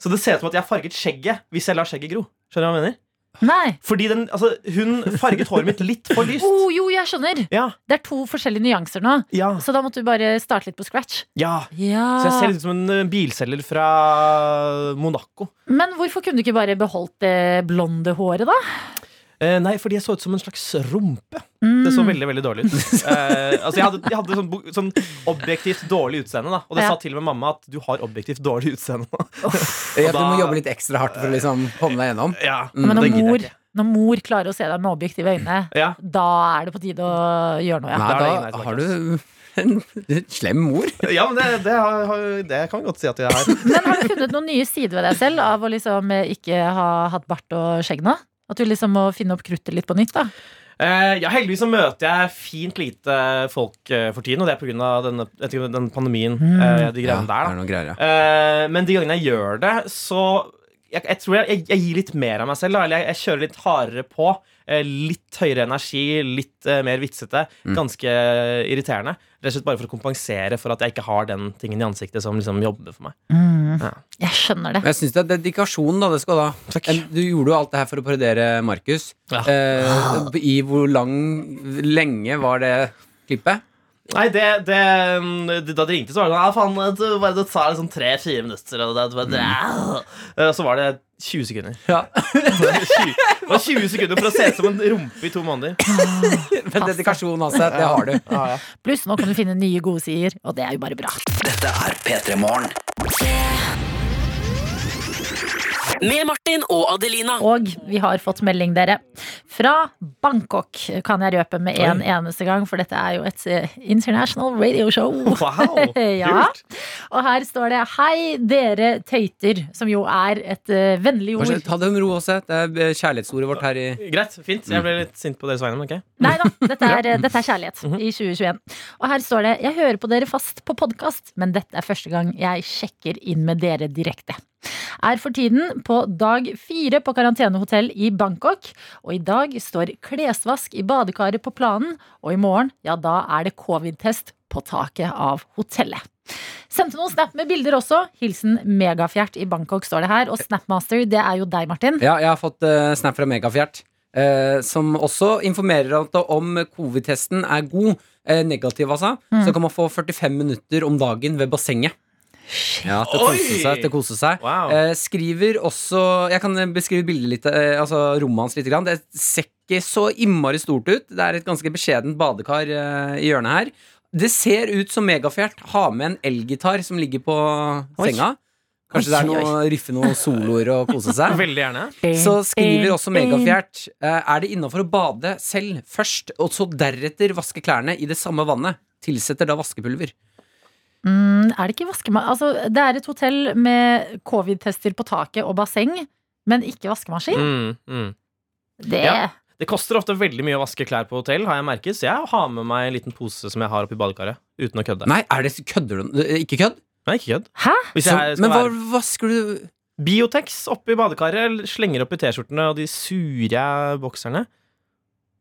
S9: Så det ser ut som at jeg har farget skjegget hvis jeg lar skjegget gro. Skjønner du hva jeg mener?
S2: Nei.
S9: Fordi den, altså, hun farget håret mitt litt for
S2: Å
S9: lyst.
S2: jo, jeg skjønner.
S9: Ja,
S2: Det er to forskjellige nyanser nå.
S9: ja,
S2: Så da måtte du bare starte litt på scratch.
S9: ja. Så jeg ser litt ut som en eh, bilselger fra Monaco.
S2: Men hvorfor kunne du ikke bare beholdt det blonde håret, da?
S9: Eh, nei, fordi jeg så ut som en slags rumpe. Det
S2: Mm.
S9: så veldig veldig dårlig ut. Eh, altså Jeg hadde, jeg hadde sånn, bo- sånn objektivt dårlig utseende, da. og det
S2: Ja.
S9: sa til og med mamma at du har objektivt dårlig utseende. nå.
S3: Ja,
S9: Og
S3: Du
S9: da-
S3: må jobbe litt ekstra hardt for å liksom komme deg gjennom.
S9: ja,
S2: Men
S9: Mm, det
S2: når
S9: gidder jeg
S2: mor,
S9: ikke.
S2: når mor klarer å se deg med objektive øyne,
S9: Ja.
S2: da er det på tide å gjøre noe, ja.
S3: Nei,
S9: da er det ingen vei
S3: da
S9: tilbake, altså.
S3: har du en slem mor.
S9: ja, men det, det, har, har- det kan vi godt si at jeg har.
S2: Men har du funnet noen nye sider ved deg selv av å liksom eh, ikke ha hatt bart og skjegg nå? At du liksom må finne opp kruttet litt på nytt, da?
S9: Eh, ja, heldigvis så møter jeg fint lite folk eh, for tiden, og det er pga. den, den pandemien.
S2: Mm.
S9: eh, de
S3: Ja,
S9: greiene
S3: det
S9: der da
S3: er noe greier, ja.
S9: Eh, men de gangene jeg gjør det, så jeg, jeg tror jeg, jeg, jeg gir litt mer av meg selv. Da. Eller jeg, jeg kjører litt hardere på. eh, Litt høyere energi, litt eh, mer vitsete. Ganske irriterende. Rett og slett bare for å kompensere for at jeg ikke har den tingen i ansiktet som liksom jobber for meg.
S2: Mm. Jeg skjønner det.
S3: Men jeg syns det er dedikasjon, da. Det skal da. En- Du gjorde jo alt det her for å parodiere Markus.
S9: Ja.
S3: Eh, I hvor lang lenge var det klippet?
S9: Nei, det, det, det Da de ringte, så var det sånn Ja, faen, du, bare, det tar liksom tre-fire minutter, og det, det, bare- Eh, Så var det 20 sekunder.
S3: Ja.
S9: Det var 20 sekunder for å se ut som en rumpe i to måneder.
S3: Men dedikasjon, altså. Det har du.
S2: Pluss nå kan du finne nye gode sider, og det er jo bare bra.
S4: Dette er P3 Morgen.
S5: Med Martin og Adelina.
S2: Og vi har fått melding, dere. Fra Bangkok, kan jeg røpe med en eneste gang, for dette er jo et eh, international radio show.
S9: Wow,
S2: ja. Og her står det 'Hei, dere tøyter', som jo er et eh, vennlig
S3: Hva
S2: ord.
S3: skjer? Ta det med ro, Åse. Det er eh, kjærlighetsordet vårt her i
S9: Greit, fint. Jeg ble litt sint på deres vegne, men ok.
S2: Nei da, dette er, eh, dette er kjærlighet i 2021. Og her står det Jeg hører på dere fast på podkast, men dette er første gang jeg sjekker inn med dere direkte. Er for tiden på dag fire på karantenehotell i Bangkok, og i dag står klesvask i badekaret på planen, og i morgen, ja da er det covid-test på taket av hotellet. Sendte noen snap med bilder også. Hilsen Megafjert i Bangkok, står det her. Og Snapmaster, det er jo deg, Martin.
S3: Ja, jeg har fått eh, snap fra Megafjert, eh, som også informerer at om covid-testen er god, eh, negativ altså, så kan man få 45 minutter om dagen ved bassenget. Ja, til å kose
S9: Oi!
S3: seg. Til å kose seg.
S9: Wow.
S3: Eh, skriver også Jeg kan beskrive bildet litt, eh, altså rommet hans litt. Grann. Det ser ikke så innmari stort ut. Det er et ganske beskjedent badekar eh, i hjørnet her. Det ser ut som Megafjert har med en elgitar som ligger på
S2: Oi.
S3: senga. Kanskje det er
S2: Oi, oi,
S3: noe riffe noen soloer og kose seg.
S9: Veldig gjerne.
S3: Så skriver også Megafjert eh, Er det innafor å bade selv først, og så deretter vaske klærne i det samme vannet? Tilsetter da vaskepulver.
S2: Mm, er det ikke vaskemaskin? Altså, det er et hotell med covid-tester på taket og basseng, men ikke vaskemaskin.
S9: Mm, mm.
S2: Det
S9: Ja. Det koster ofte veldig mye å vaske klær på hotell, har jeg merket, så jeg har med meg en liten pose som jeg har oppi badekaret. Uten å kødde.
S3: Nei, er det kødder du eh, Ikke kødd?
S9: Nei, ikke kødd.
S2: Hæ?
S9: Hvis
S3: Så,
S9: jeg skal
S3: men hva
S9: være
S3: vasker du
S9: Biotex oppi badekaret, slenger oppi T-skjortene og de sure bokserne.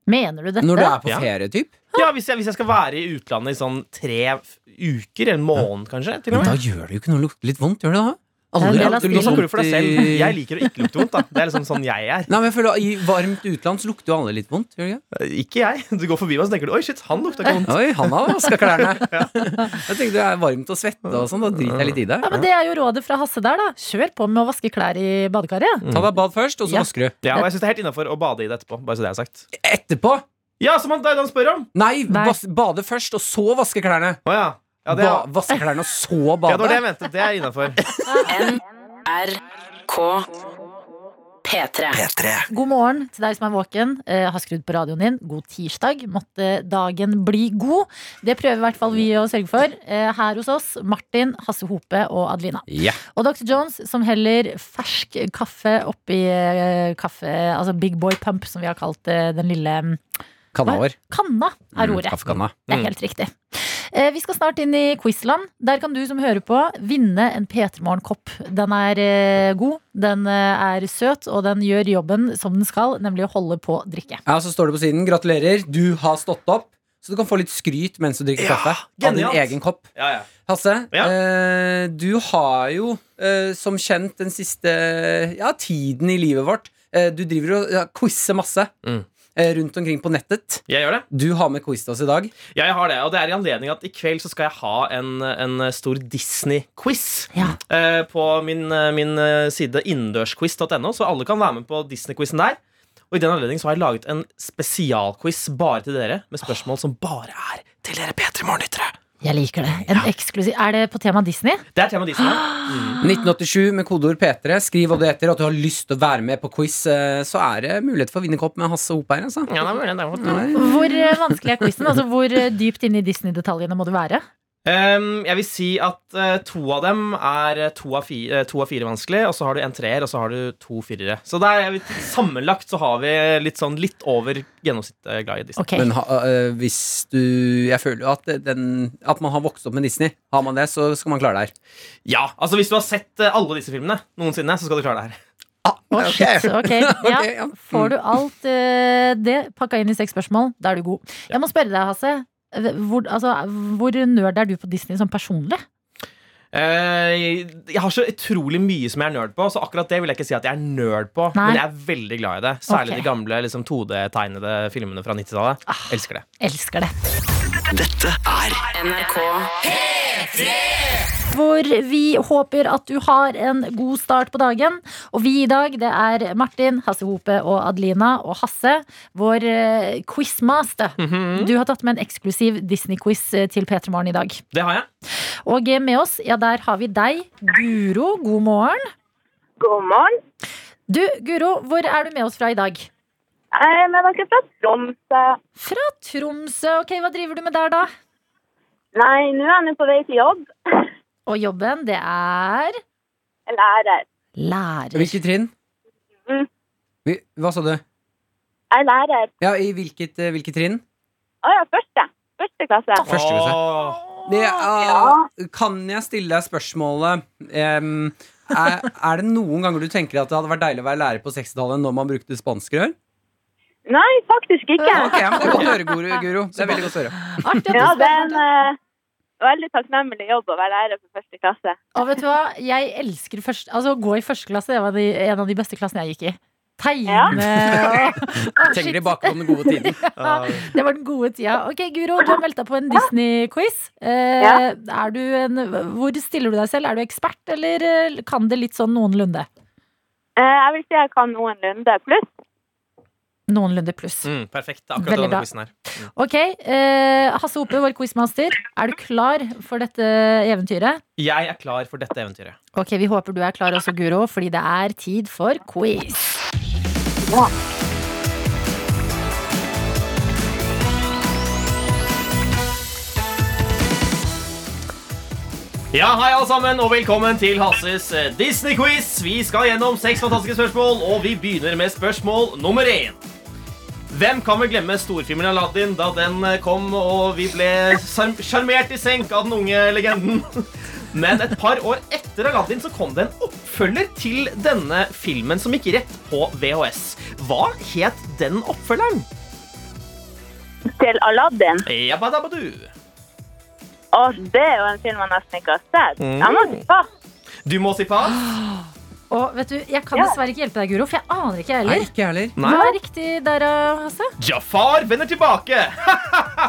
S2: Mener du dette?
S3: når du er på
S9: Ja.
S3: ferie, typ?
S9: Ja, hvis jeg, hvis jeg skal være i utlandet i sånn tre f- uker, en måned kanskje, til og
S3: Men da
S9: med.
S3: gjør det jo ikke noe å lukte litt vondt, gjør det da?
S2: Det er en del
S3: lukter
S2: av
S9: Nå
S3: litt
S9: snakker du for deg
S3: vondt
S9: selv.
S3: i-
S9: Jeg liker å ikke lukte vondt, da. Det er liksom sånn jeg er.
S3: Nei, men jeg føler I varmt utland så lukter jo alle litt vondt. Gjør det ikke?
S9: Eh, Ikke jeg. Du går forbi meg og så tenker du, oi shit, han lukta ikke vondt.
S3: Oi, han har vaska klærne. Jeg tenkte det er varmt å svette og sånn. Da driter jeg litt i det.
S2: Ja, men Det er jo rådet fra Hasse der, da. Kjør på med å vaske klær i badekaret.
S3: Mm. Ta deg bad først, og så
S2: Ja.
S3: vasker du.
S9: Ja, og jeg syns det er helt innafor å bade i det etterpå. Bare så det er sagt.
S3: Etterpå!
S9: Ja, som han, det er det han spør om!
S3: Nei,
S2: Nei.
S3: vas- bade først, og så vaske klærne.
S9: Å ja. Ja, det,
S3: ba
S9: er,
S3: vaske klærne, og så bade.
S9: ja, det var det jeg mente. Det er innafor.
S5: K. P3.
S4: P3.
S2: God morgen til deg som er våken, eh, har skrudd på radioen din. God tirsdag. Måtte dagen bli god. Det prøver i hvert fall vi å sørge for. Eh, her hos oss, Martin, Hasse Hope og Adelina.
S3: Ja.
S2: Og Dr. Jones som heller fersk kaffe oppi eh, kaffe, altså Big Boy Pump, som vi har kalt eh, den lille mm,
S3: Kanna vår.
S2: kanna, er
S3: Mm,
S2: ordet.
S3: kaffekanna.
S2: Det er helt riktig. Eh, Vi skal snart inn i Quizland. Der kan du som hører på, vinne en P3 Morgen-kopp. Den er eh, god, den eh, er søt, og den gjør jobben som den skal, nemlig å holde på drikke.
S3: Ja, så står det på siden. Gratulerer, du har stått opp. Så du kan få litt skryt mens du drikker
S9: Ja,
S3: kaffe. Av din
S9: genialt.
S3: egen kopp.
S9: Ja, ja.
S3: Hasse,
S9: Ja.
S3: eh, du har jo eh, som kjent den siste ja, tiden i livet vårt eh, Du driver og ja, quizer masse
S9: Mm.
S3: eh, rundt omkring på nettet.
S9: Jeg gjør det.
S3: Du har med quiz til oss i dag.
S9: Ja, jeg har det, og det er i anledning at i kveld så skal jeg ha en, en stor Disney-quiz
S2: Ja.
S9: eh, på min, eh, min eh, side innendørsquiz.no, så alle kan være med på Disney-quizen der. Og i den anledning så har jeg laget en spesialquiz bare til dere, med spørsmål som bare er til dere P3 Morgen-lyttere.
S2: Jeg liker det. En eksklusiv Er det på tema Disney?
S9: Det er tema Disney.
S3: 1987 med kodeord P3. Skriv hva du heter, og at du har lyst til å være med på quiz. Eh, så er det mulighet for å vinne kopp med Hasse Hope her, altså.
S9: Ja, det er mulig, det er mulig.
S2: Hvor eh, vanskelig er quizen? Altså, hvor eh, dypt inne i Disney-detaljene må du være?
S9: Ehm, jeg vil si at eh, to av dem er eh, to av, fi, eh, to av fire vanskelig, og så har du en treer, og så har du to firere. Så der, jeg vil, sammenlagt så har vi litt sånn litt over gjennomsnittet eh, glad i Disney.
S2: Ok.
S3: Men ha, øh, hvis du Jeg føler jo at, den, at man har vokst opp med Disney. Har man det, så skal man klare det her.
S9: Ja, altså Hvis du har sett eh, alle disse filmene noensinne, så skal du klare det her.
S2: Å, shit, ok. Ja.
S3: Ah, Ok, ja.
S2: Får du alt eh, det pakka inn i seks spørsmål, da er du god. Jeg må spørre deg, Hasse. Hvor, altså, hvor nerd er du på Disney sånn personlig?
S9: Eh, jeg har så utrolig mye som jeg er nerd på, så akkurat det vil jeg ikke si at jeg er nerd på.
S2: Nei.
S9: Men jeg er veldig glad i det.
S2: Ok.
S9: Særlig
S2: Ah.
S9: de gamle liksom, 2D-tegnede filmene fra 90-tallet. Elsker det.
S2: Elsker det.
S4: Dette er
S5: NRK.
S2: Hvor vi håper at du har en god start på dagen. Og vi i dag, det er Martin, Hasse Hope og Adelina og Hasse. Vår eh, quizmaster. Du har tatt med en eksklusiv Disney-quiz eh, til P3 Morgen i dag.
S9: Det har jeg.
S2: Og eh, med oss, ja, der har vi deg, Guro. God morgen.
S12: God morgen.
S2: Du, Guro, hvor er du med oss fra i dag?
S12: Eh, men dere er fra Tromsø.
S2: Fra Tromsø. Ok, hva driver du med der, da?
S12: Nei, nå er jeg nå på vei til jobb.
S2: Og jobben, det er
S12: Jeg er lærer.
S2: Lærer.
S3: Hvilket trinn?
S12: Mm.
S3: Vi- Hva sa du?
S12: Jeg er lærer.
S3: Ja, I hvilket, eh, hvilket trinn?
S12: Å ja, første. Første klasse.
S3: Første klasse. Det er, kan jeg stille deg spørsmålet em, er, er det noen ganger du tenker at det hadde vært deilig å være lærer på 60-tallet når man brukte spanskrør?
S12: Nei, faktisk ikke.
S3: Ok, men Det er godt å høre, Guru- Guro. Det er veldig godt å høre.
S12: ja, det er en eh, veldig takknemlig jobb å være lærer for første klasse.
S2: Og vet du hva, jeg elsker først, altså, å gå i første klasse. Det var de, en av de beste klassene jeg gikk i. Tegne og
S3: Tenker tilbake på den gode tiden.
S2: Det var den gode tida. Ok, Guro, du har meldt deg på en Disney-quiz. Eh, er du en, hvor stiller du deg selv? Er du ekspert, eller eh, kan det litt sånn noenlunde?
S12: Eh, jeg vil si jeg kan noenlunde pluss.
S2: Noenlunde pluss.
S9: Mm, perfekt. Det er
S2: Veldig
S9: Akkurat denne
S2: bra.
S9: quizen her. Mm.
S2: Ok, eh, Hasse Hope, vår quizmaster. Er du klar for dette eventyret?
S9: Jeg er klar for dette eventyret.
S2: Ok, Vi håper du er klar også, Guro, fordi det er tid for quiz.
S9: Ja, Hei, alle sammen, og velkommen til Hasses eh, Disney-quiz. Vi skal gjennom seks fantastiske spørsmål, og vi begynner med spørsmål nummer én. Hvem kan vel glemme storfilmen Aladdin da den eh, kom og vi ble sjarm- sjarmert i senk av den unge legenden? Men et par år etter Aladdin så kom det en oppfølger til denne filmen som gikk rett på VHS. Hva het den oppfølgeren?
S12: Til Aladdin.
S9: Jabba-dabba-du.
S12: Og det er jo en film jeg nesten ikke har sett.
S9: Mm.
S12: Jeg må si pass.
S9: Du må si pass.
S2: Og vet du, Jeg kan dessverre ikke hjelpe deg, Guro, for jeg aner ikke, jeg heller.
S3: Ikke heller.
S9: Nei.
S2: Hva er riktig der, eh, Hasse?
S9: Jafar vender tilbake.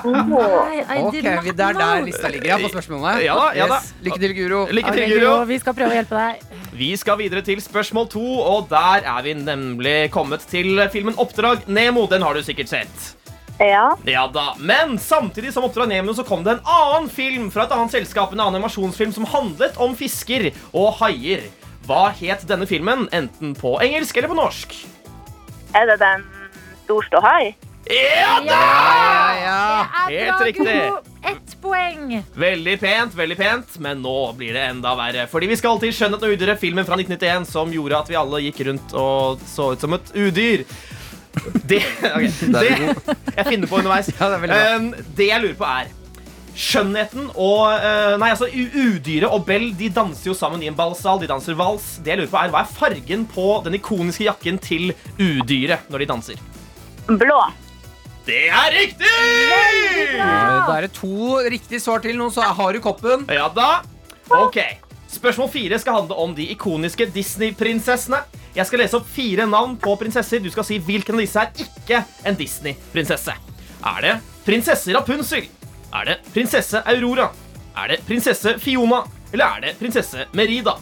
S2: Nei, I
S3: Ok,
S2: did
S3: vi-
S2: not
S3: Det er der
S2: know.
S3: lista ligger ja, på spørsmålene.
S9: Ja da, ja da.
S3: Yes. Lykke til, Guro.
S9: Lykke
S2: Ok,
S9: til,
S2: Guro,
S9: Guro.
S2: vi skal prøve å hjelpe deg.
S9: Vi skal videre til spørsmål to, og der er vi nemlig kommet til filmen Oppdrag Nemo. Den har du sikkert sett.
S12: Ja.
S9: Ja da, Men samtidig som Oppdrag Nemo så kom det en annen film fra et annet selskap, en annen animasjonsfilm som handlet om fisker og haier. Hva het denne filmen, enten på engelsk eller på norsk?
S12: Er det den storstå hai?
S9: Ja da!
S2: Det
S9: Ah, Helt
S2: er bra,
S9: riktig.
S2: Guro. Ett poeng.
S9: Veldig pent, veldig pent, men nå blir det enda verre. Fordi vi skal til Skjønnhet og udyret, filmen fra 1991 som gjorde at vi alle gikk rundt og så ut som et udyr. Det, ok, det Jeg finner på underveis.
S3: Ja, det er veldig bra.
S9: Um, det jeg lurer på, er Skjønnheten og eh, Nei, altså u- Udyret og Bell de danser jo sammen i en ballsal. De danser vals. Det jeg lurer på er, Hva er fargen på den ikoniske jakken til Udyret når de danser?
S12: Blå.
S9: Det er riktig!
S3: Eh, Da er det to riktige svar til nå, så har du koppen.
S9: Ja da. Ok. Spørsmål fire skal handle om de ikoniske Disney-prinsessene. Jeg skal lese opp fire navn på prinsesser. Du skal si hvilken av disse er ikke en Disney-prinsesse. Er det prinsesse Rapunzel? Er det prinsesse Aurora? Er det prinsesse Fiona? Eller er det prinsesse Merida?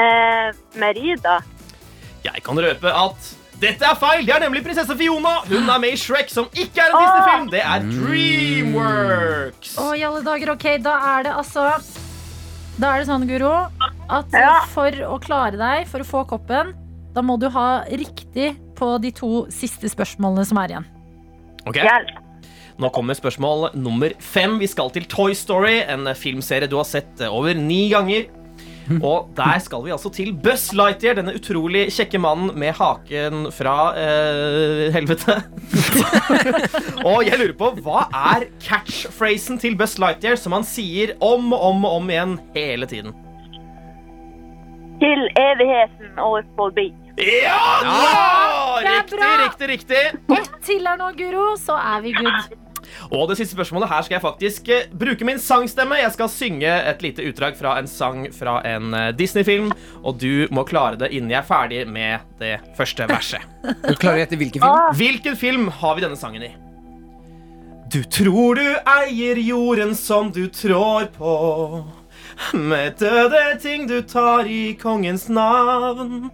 S12: Eh, Merida.
S9: Jeg kan røpe at dette er feil. Det er nemlig prinsesse Fiona. Hun er med i Shrek, som ikke er en Disney-film. Det er Dreamworks.
S2: Å, i alle dager, ok. Da er det altså Da er det sånn, Guro, at
S12: Ja.
S2: for å klare deg, for å få koppen, da må du ha riktig på de to siste spørsmålene som er igjen.
S9: Ok.
S12: Hjelp.
S9: Nå kommer spørsmål nummer fem. Vi skal til Toy Story, en filmserie du har sett eh, over ni ganger. Og der skal vi altså til Buzz Lightyear, denne utrolig kjekke mannen med haken fra eh, helvete. og jeg lurer på, hva er catchphrasen til Buzz Lightyear som han sier om og om og om igjen hele tiden?
S12: Til evigheten og forbi.
S9: Ja!
S2: Det
S9: ja!
S2: er
S9: Riktig,
S2: bra!
S9: riktig, riktig.
S2: Ett til her nå, Guro, så er vi good.
S9: Og det siste spørsmålet her skal jeg faktisk eh, bruke min sangstemme. Jeg skal synge et lite utdrag fra en sang fra en eh, Disney-film, og du må klare det innen jeg er ferdig med det første verset.
S3: Du klarer å gjette hvilken film?
S9: Hvilken film har vi denne sangen i? Du tror du eier jorden som du trår på. Med døde ting du tar i kongens navn.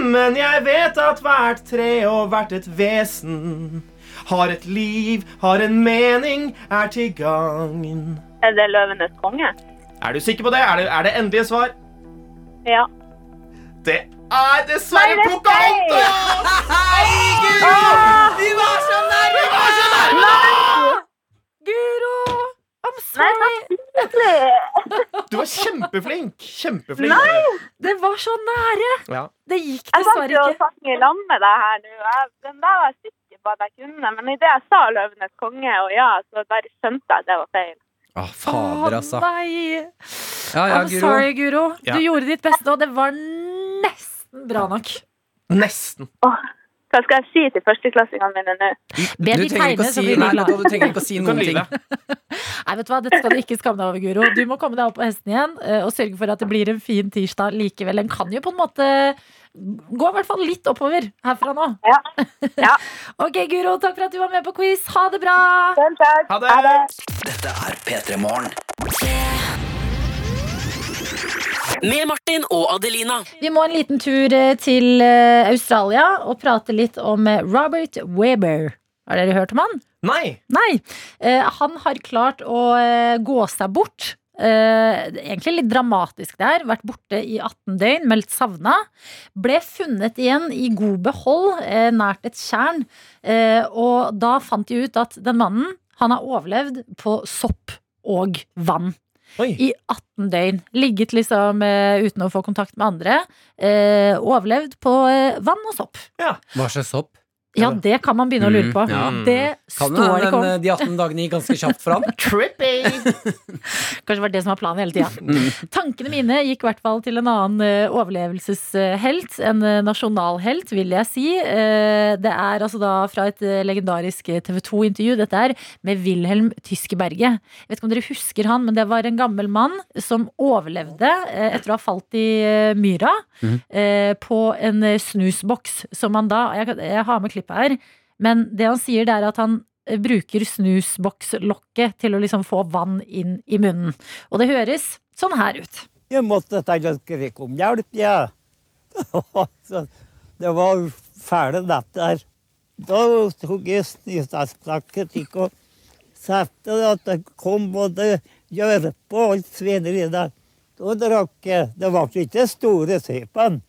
S9: Men jeg vet at hvert tre og hvert et vesen har et liv, har en mening, er til gagn.
S12: Er det Løvenes konge?
S9: Er du sikker på det? Er det, er det endelige svar?
S12: Ja.
S9: Det er dessverre
S6: Nei, det er
S9: Pocahontas!
S12: Ah!
S6: Åh!
S9: Herregud! Vi var så nærme! Vi var så nærme!
S2: Guro! I'm
S9: sorry. Du var kjempeflink. Kjempeflink.
S2: Det var så nære!
S9: Ja.
S2: Det gikk
S12: Jeg satt
S2: dessverre
S12: jo og
S2: ikke.
S12: sang i lag med deg her nå. Jeg- Den der var jeg sikker på at jeg kunne, men idet jeg sa 'Løvenes konge' og ja, så bare skjønte jeg at det var feil.
S3: Å, fader, altså.
S2: Nei!
S3: Ja, ja,
S2: I'm
S3: Guro.
S2: sorry, Guro.
S3: Ja.
S2: Du gjorde ditt beste, og det var nesten bra nok.
S9: Nesten.
S12: Hva skal jeg si til førsteklassingene mine nå?
S2: Be
S3: Du
S2: de
S3: trenger ikke
S2: tegne,
S3: å
S2: så
S3: si,
S2: blir de
S3: nei, vet du hva, du
S2: glad.
S3: trenger ikke å si
S9: Du kan
S3: noen ting.
S9: lyve.
S2: Nei, vet du hva, Dette skal du ikke skamme deg over, Guro. Du må komme deg opp på hesten igjen eh, og sørge for at det blir en fin tirsdag likevel. Den kan jo på en måte gå i hvert fall litt oppover herfra nå. ok, Guro, takk for at du var med på quiz. Ha det bra!
S9: Ha det!
S4: Dette er P3 Morgen.
S5: Med Martin og Adelina.
S2: Vi må en liten tur eh, til eh, Australia og prate litt om eh, Robert Weber. Har dere hørt om han?
S9: Nei.
S2: Nei. Eh, han har klart å eh, gå seg bort. Eh, det er egentlig litt dramatisk det her. Vært borte i 18 døgn, meldt savna. Ble funnet igjen i god behold eh, nært et tjern. Eh, og da fant de ut at den mannen, han har overlevd på sopp og vann. I 18 døgn. Ligget liksom eh, uten å få kontakt med andre. Eh, overlevd på eh, vann og sopp.
S3: Hva slags sopp?
S2: Ja, det kan man begynne å lure
S3: Mm,
S2: på.
S3: ja.
S2: Det
S3: Kan
S2: står det
S3: hende
S2: ikke om.
S3: den, eh, De 18 dagene gikk ganske kjapt for han.
S2: Kanskje det var det som var planen hele tida.
S3: Mm.
S2: Tankene mine gikk i hvert fall til en annen eh, overlevelseshelt. En eh, nasjonalhelt, vil jeg si. Eh, Det er altså da fra et eh, legendarisk TV 2-intervju, dette er, med Wilhelm Tyskeberget. Jeg vet ikke om dere husker han, men det var en gammel mann som overlevde eh, etter å ha falt i eh, myra
S13: Mhm.
S2: eh, på en eh, snusboks, som han da Jeg, kan- jeg har med klippet her, men det han sier, det er at han eh, bruker snusbokslokket til å liksom få vann inn i munnen. Og det høres sånn her ut.
S14: Jeg måtte til at jeg fikk om hjelp, jeg. Ja. Det var fæle natt der. Da tok jeg snøstasplakken tikk og satte det at det kom både gjørpe og alt svineri der. Da drakk jeg. Det var ikke store sypen.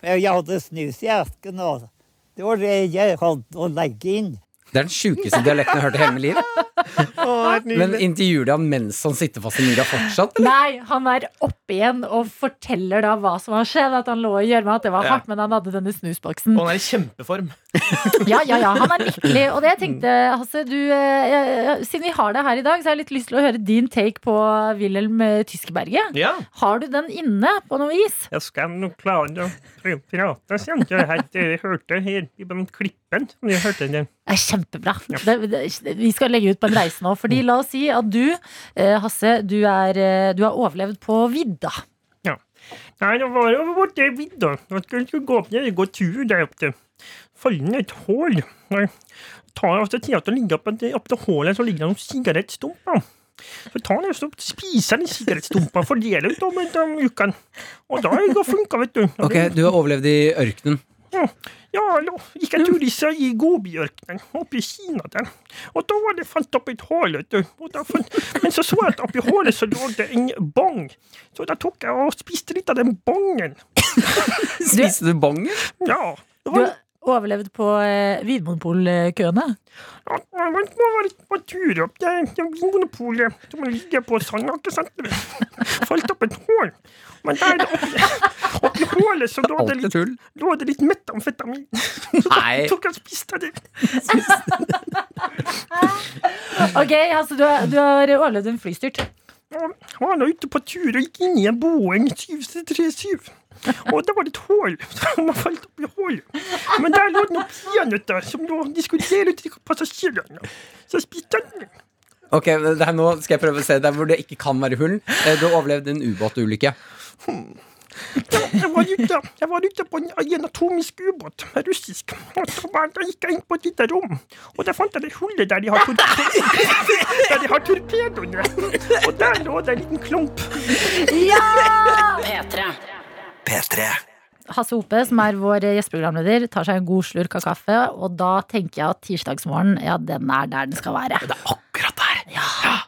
S14: Jeg hadde snus i esken. og Det var det jeg hadde å legge inn.
S3: Det er den sjukeste dialekten jeg har hørt i hele mitt liv. Men intervjuer de han mens han sitter fast i myra fortsatt?
S2: Nei, han er oppe igjen og forteller da hva som har skjedd. At han lå i gjørma, at det var
S9: Ja.
S2: hardt, men han hadde denne snusboksen.
S9: Og han er i kjempeform.
S2: Ja, ja, ja, han er lykkelig. Og det jeg tenkte, Hasse, du, eh, jeg- siden vi har deg her i dag, så har jeg litt lyst til å høre din take på Wilhelm eh, Tyskeberget.
S15: Ja.
S2: Har du den inne på noe vis?
S15: Jeg skal nå klare å pr- prate, sånn. Det her dere hørte her i den klippen. som dere hørte den.
S2: Det er kjempebra. Det, det, vi skal legge ut på en reise nå. Fordi la oss si at du, eh, Hasse, du, er, eh, du har overlevd på vidda.
S15: Ja. Nei, det var jo borte i vidda. Jeg skulle skulle gå opp ned og gå tur der oppe. Falle ned et hål. Nei. Tar av seg tida til å ligge oppe opp til hullet, så ligger det noen sigarettstumper. Så tar han og så spiser den sigarettstumpa, fordeler utover den uken. Og da er det funka, vet du.
S3: Ok, du har overlevd i ørkenen.
S15: Ja, ja nå gikk jeg tur i seg i Gobiørkenen, oppe i Kina der. Og da var det fant opp et hull, vet du. Og da fant, men så så jeg at oppi hullet så lå det en bong. Så da tok jeg og spiste litt av den bongen.
S3: Spiste du bongen?
S15: Ja. Det
S2: Du
S15: var,
S2: har overlevd på eh, Vinmonopol-køene.
S15: ja, man må være på tur opp det det Vinmonopolet som ligger på Sanda, ikke sant? Falt opp et hull. Men der oppi, oppi hullet så lå det
S3: Alt er
S15: litt,
S3: tull.
S15: lå det litt metamfetamin. Så da
S3: Nei.
S15: tok jeg og spiste det.
S2: Ok, Hasse, du, har- du har overlevd en flystyrt.
S15: Han var nå ute på tur og gikk inn i en Boeing 737. Og da var det et hull som var falt opp i hullet. Men der lå det noen peanøtter som lå, de skulle dele ut til passasjerene. Så jeg spiste den.
S3: Ok, men det her nå skal jeg prøve å se der hvor det ikke kan være hull. Eh, Du har overlevd en ubåtulykke.
S15: Jeg var ute, jeg var ute på en, i en atomisk ubåt, en russisk. Og så var, da gikk jeg inn på et lite rom, og der fant jeg det hullet der de har, torpe der de har torpedoene. Og der lå det en liten klump.
S2: Ja!
S5: P3.
S4: P3.
S2: Hasse Hope, som er vår gjesteprogramleder, tar seg en god slurk av kaffe, og da tenker jeg at tirsdagsmorgen, ja, den er der den skal være.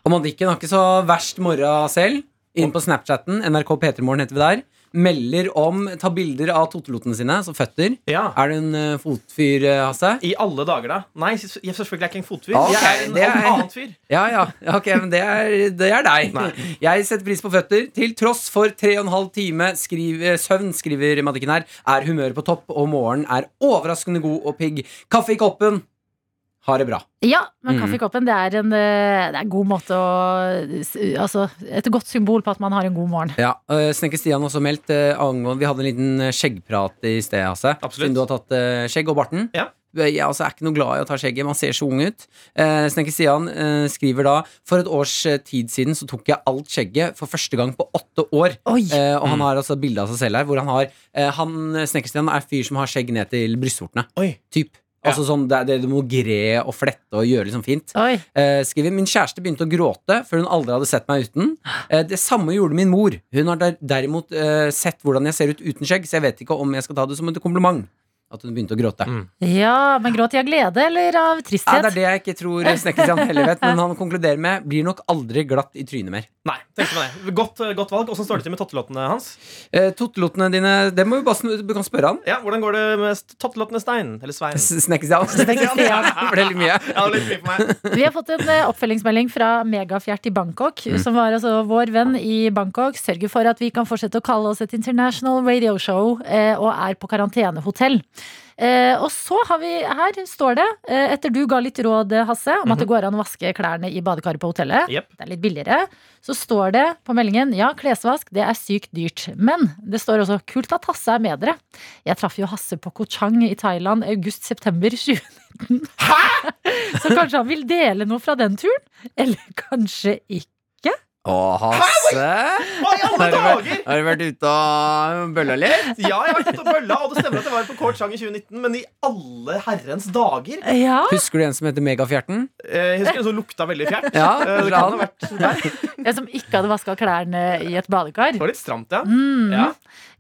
S3: Og Madikken har ikke så verst morgen selv. Inn på Snapchatten. NRK P3morgen heter vi der. melder om Ta bilder av totelotene sine, altså føtter. Er du en eh, fotfyr, eh, Hasse?
S9: I alle dager, da. Nei, s- jeg selvfølgelig er jeg ikke en fotfyr.
S3: Ok,
S9: jeg er en
S3: det er-
S9: annen fyr.
S3: Ja, ja, ja, ok, men det er, det er deg. Jeg setter pris på føtter. Til tross for tre og en halv time skriv, eh, søvn, skriver Madikken her, er humøret på topp, og morgenen er overraskende god og pigg. Kaffe i koppen. Ha det bra.
S2: Ja, men kaffe
S3: Mm.
S2: i koppen det er, en, eh, det er en god måte å Altså et godt symbol på at man har en god morgen.
S3: Ja, eh, Snekker Stian også meldt eh, angående Vi hadde en liten eh, skjeggprat i sted, Hasse. Siden du har tatt eh, skjegg og barten. Du er- Jeg altså, er ikke noe glad i å ta skjegget. Man ser så ung ut. Eh, Snekker Stian eh, skriver da For et års eh, tid siden så tok jeg alt skjegget for første gang på åtte år. Eh, og han har altså et bilde av seg selv her hvor han har eh, Han eh, Snekker Stian er fyr som har skjegg ned til brystvortene. Typ. Altså sånn, det, er- det Du må gre og flette og gjøre liksom fint. Eh, skriver Min kjæreste begynte å gråte før hun aldri hadde sett meg uten. Eh, det samme gjorde min mor. Hun har der, derimot eh, sett hvordan jeg ser ut uten skjegg, så jeg vet ikke om jeg skal ta det som et kompliment. At hun begynte å gråte.
S9: Mm.
S2: Ja, men gråt jeg av glede eller av
S3: Ja,
S2: tristhet?
S3: det er det jeg ikke tror Snekkerstrand heller vet, men han konkluderer med blir nok aldri glatt i trynet mer.
S9: Nei, tenkte meg det. Godt, eh, godt valg. Åssen står det til med tottelåtene hans?
S3: Eh, Tottelotene dine, det må vi bare snu- du kan spørre han.
S9: Ja, Hvordan går det med st- tottelåtene Stein? Eller Svein?
S3: Snekkerstrand. Det ble litt mye.
S9: Ja, det ble litt mye for meg.
S2: Vi har fått en eh, oppfølgingsmelding fra Megafjert i Bangkok,
S9: Mm.
S2: som var altså vår venn i Bangkok. Sørger for at vi kan fortsette å kalle oss et international radio show, eh, og er på karantenehotell. Eh, og så har vi, her står det, eh, etter du ga litt råd, eh, Hasse, om at
S3: Mhm.
S2: det går an å vaske klærne i badekaret på hotellet.
S13: Jep.
S2: Det er litt billigere. Så står det på meldingen, ja, klesvask, det er sykt dyrt. Men det står også, kult at Hasse er med dere. Jeg traff jo Hasse på Koh Chang i Thailand august-september 2019. Så kanskje han vil dele noe fra den turen? Eller kanskje ikke?
S3: Å, Hasse!
S9: Hva i alle
S3: Har du
S9: dager?
S3: vært- Har du vært ute og bølla litt?
S9: Ja, jeg har vært ute og bølla, og det stemmer at jeg var på Kort Chang i 2019, men i alle herrens dager!
S3: Husker du en som heter Megafjerten?
S9: Eh, Jeg husker en som lukta veldig fjert.
S3: Ja,
S9: Eh, det
S3: kanskje
S9: kan ha
S3: han.
S9: vært
S2: En som ikke hadde vaska klærne i et badekar?
S9: Det var litt stramt, ja.
S2: Mm. ja.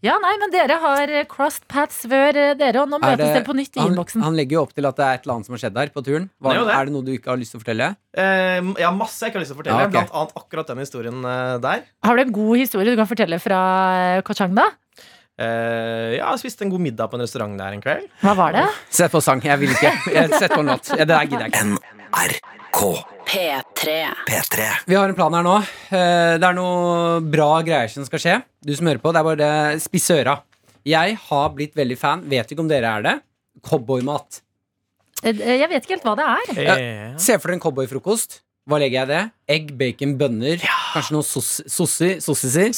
S3: Ja.
S2: nei, men dere har eh, crossed paths før, eh, dere, og nå
S3: Er
S2: møtes
S3: det-
S2: dere på nytt i
S3: han,
S2: innboksen.
S3: han legger jo opp til at det er et eller annet som har skjedd der på turen. Hva,
S9: Det er jo det.
S3: Er det noe du ikke har lyst til å fortelle?
S9: Eh, Jeg har masse jeg ikke har lyst til å fortelle,
S3: Ja, ok.
S9: blant annet akkurat den historien eh, der.
S2: Har du en god historie du kan fortelle fra eh, Koh Chang, da?
S9: Eh, ja, jeg spiste en god middag på en restaurant der en kveld.
S2: Hva var det?
S3: Sett på sang. Jeg vil ikke. Jeg- Sett på en låt. Ja, Det der gidder jeg ikke.
S5: P3.
S3: Vi har en plan her nå. Eh, Det er noe bra greier som skal skje. Du som hører på, det er bare spiss øra. Jeg har blitt veldig fan, vet ikke om dere er det, cowboymat.
S2: Eh, eh, Jeg vet ikke helt hva det er.
S9: Eh,
S3: Ja. Se for dere en cowboyfrokost. Hva legger jeg i det? Egg, bacon, bønner, kanskje noen sos- sossi- sossiser.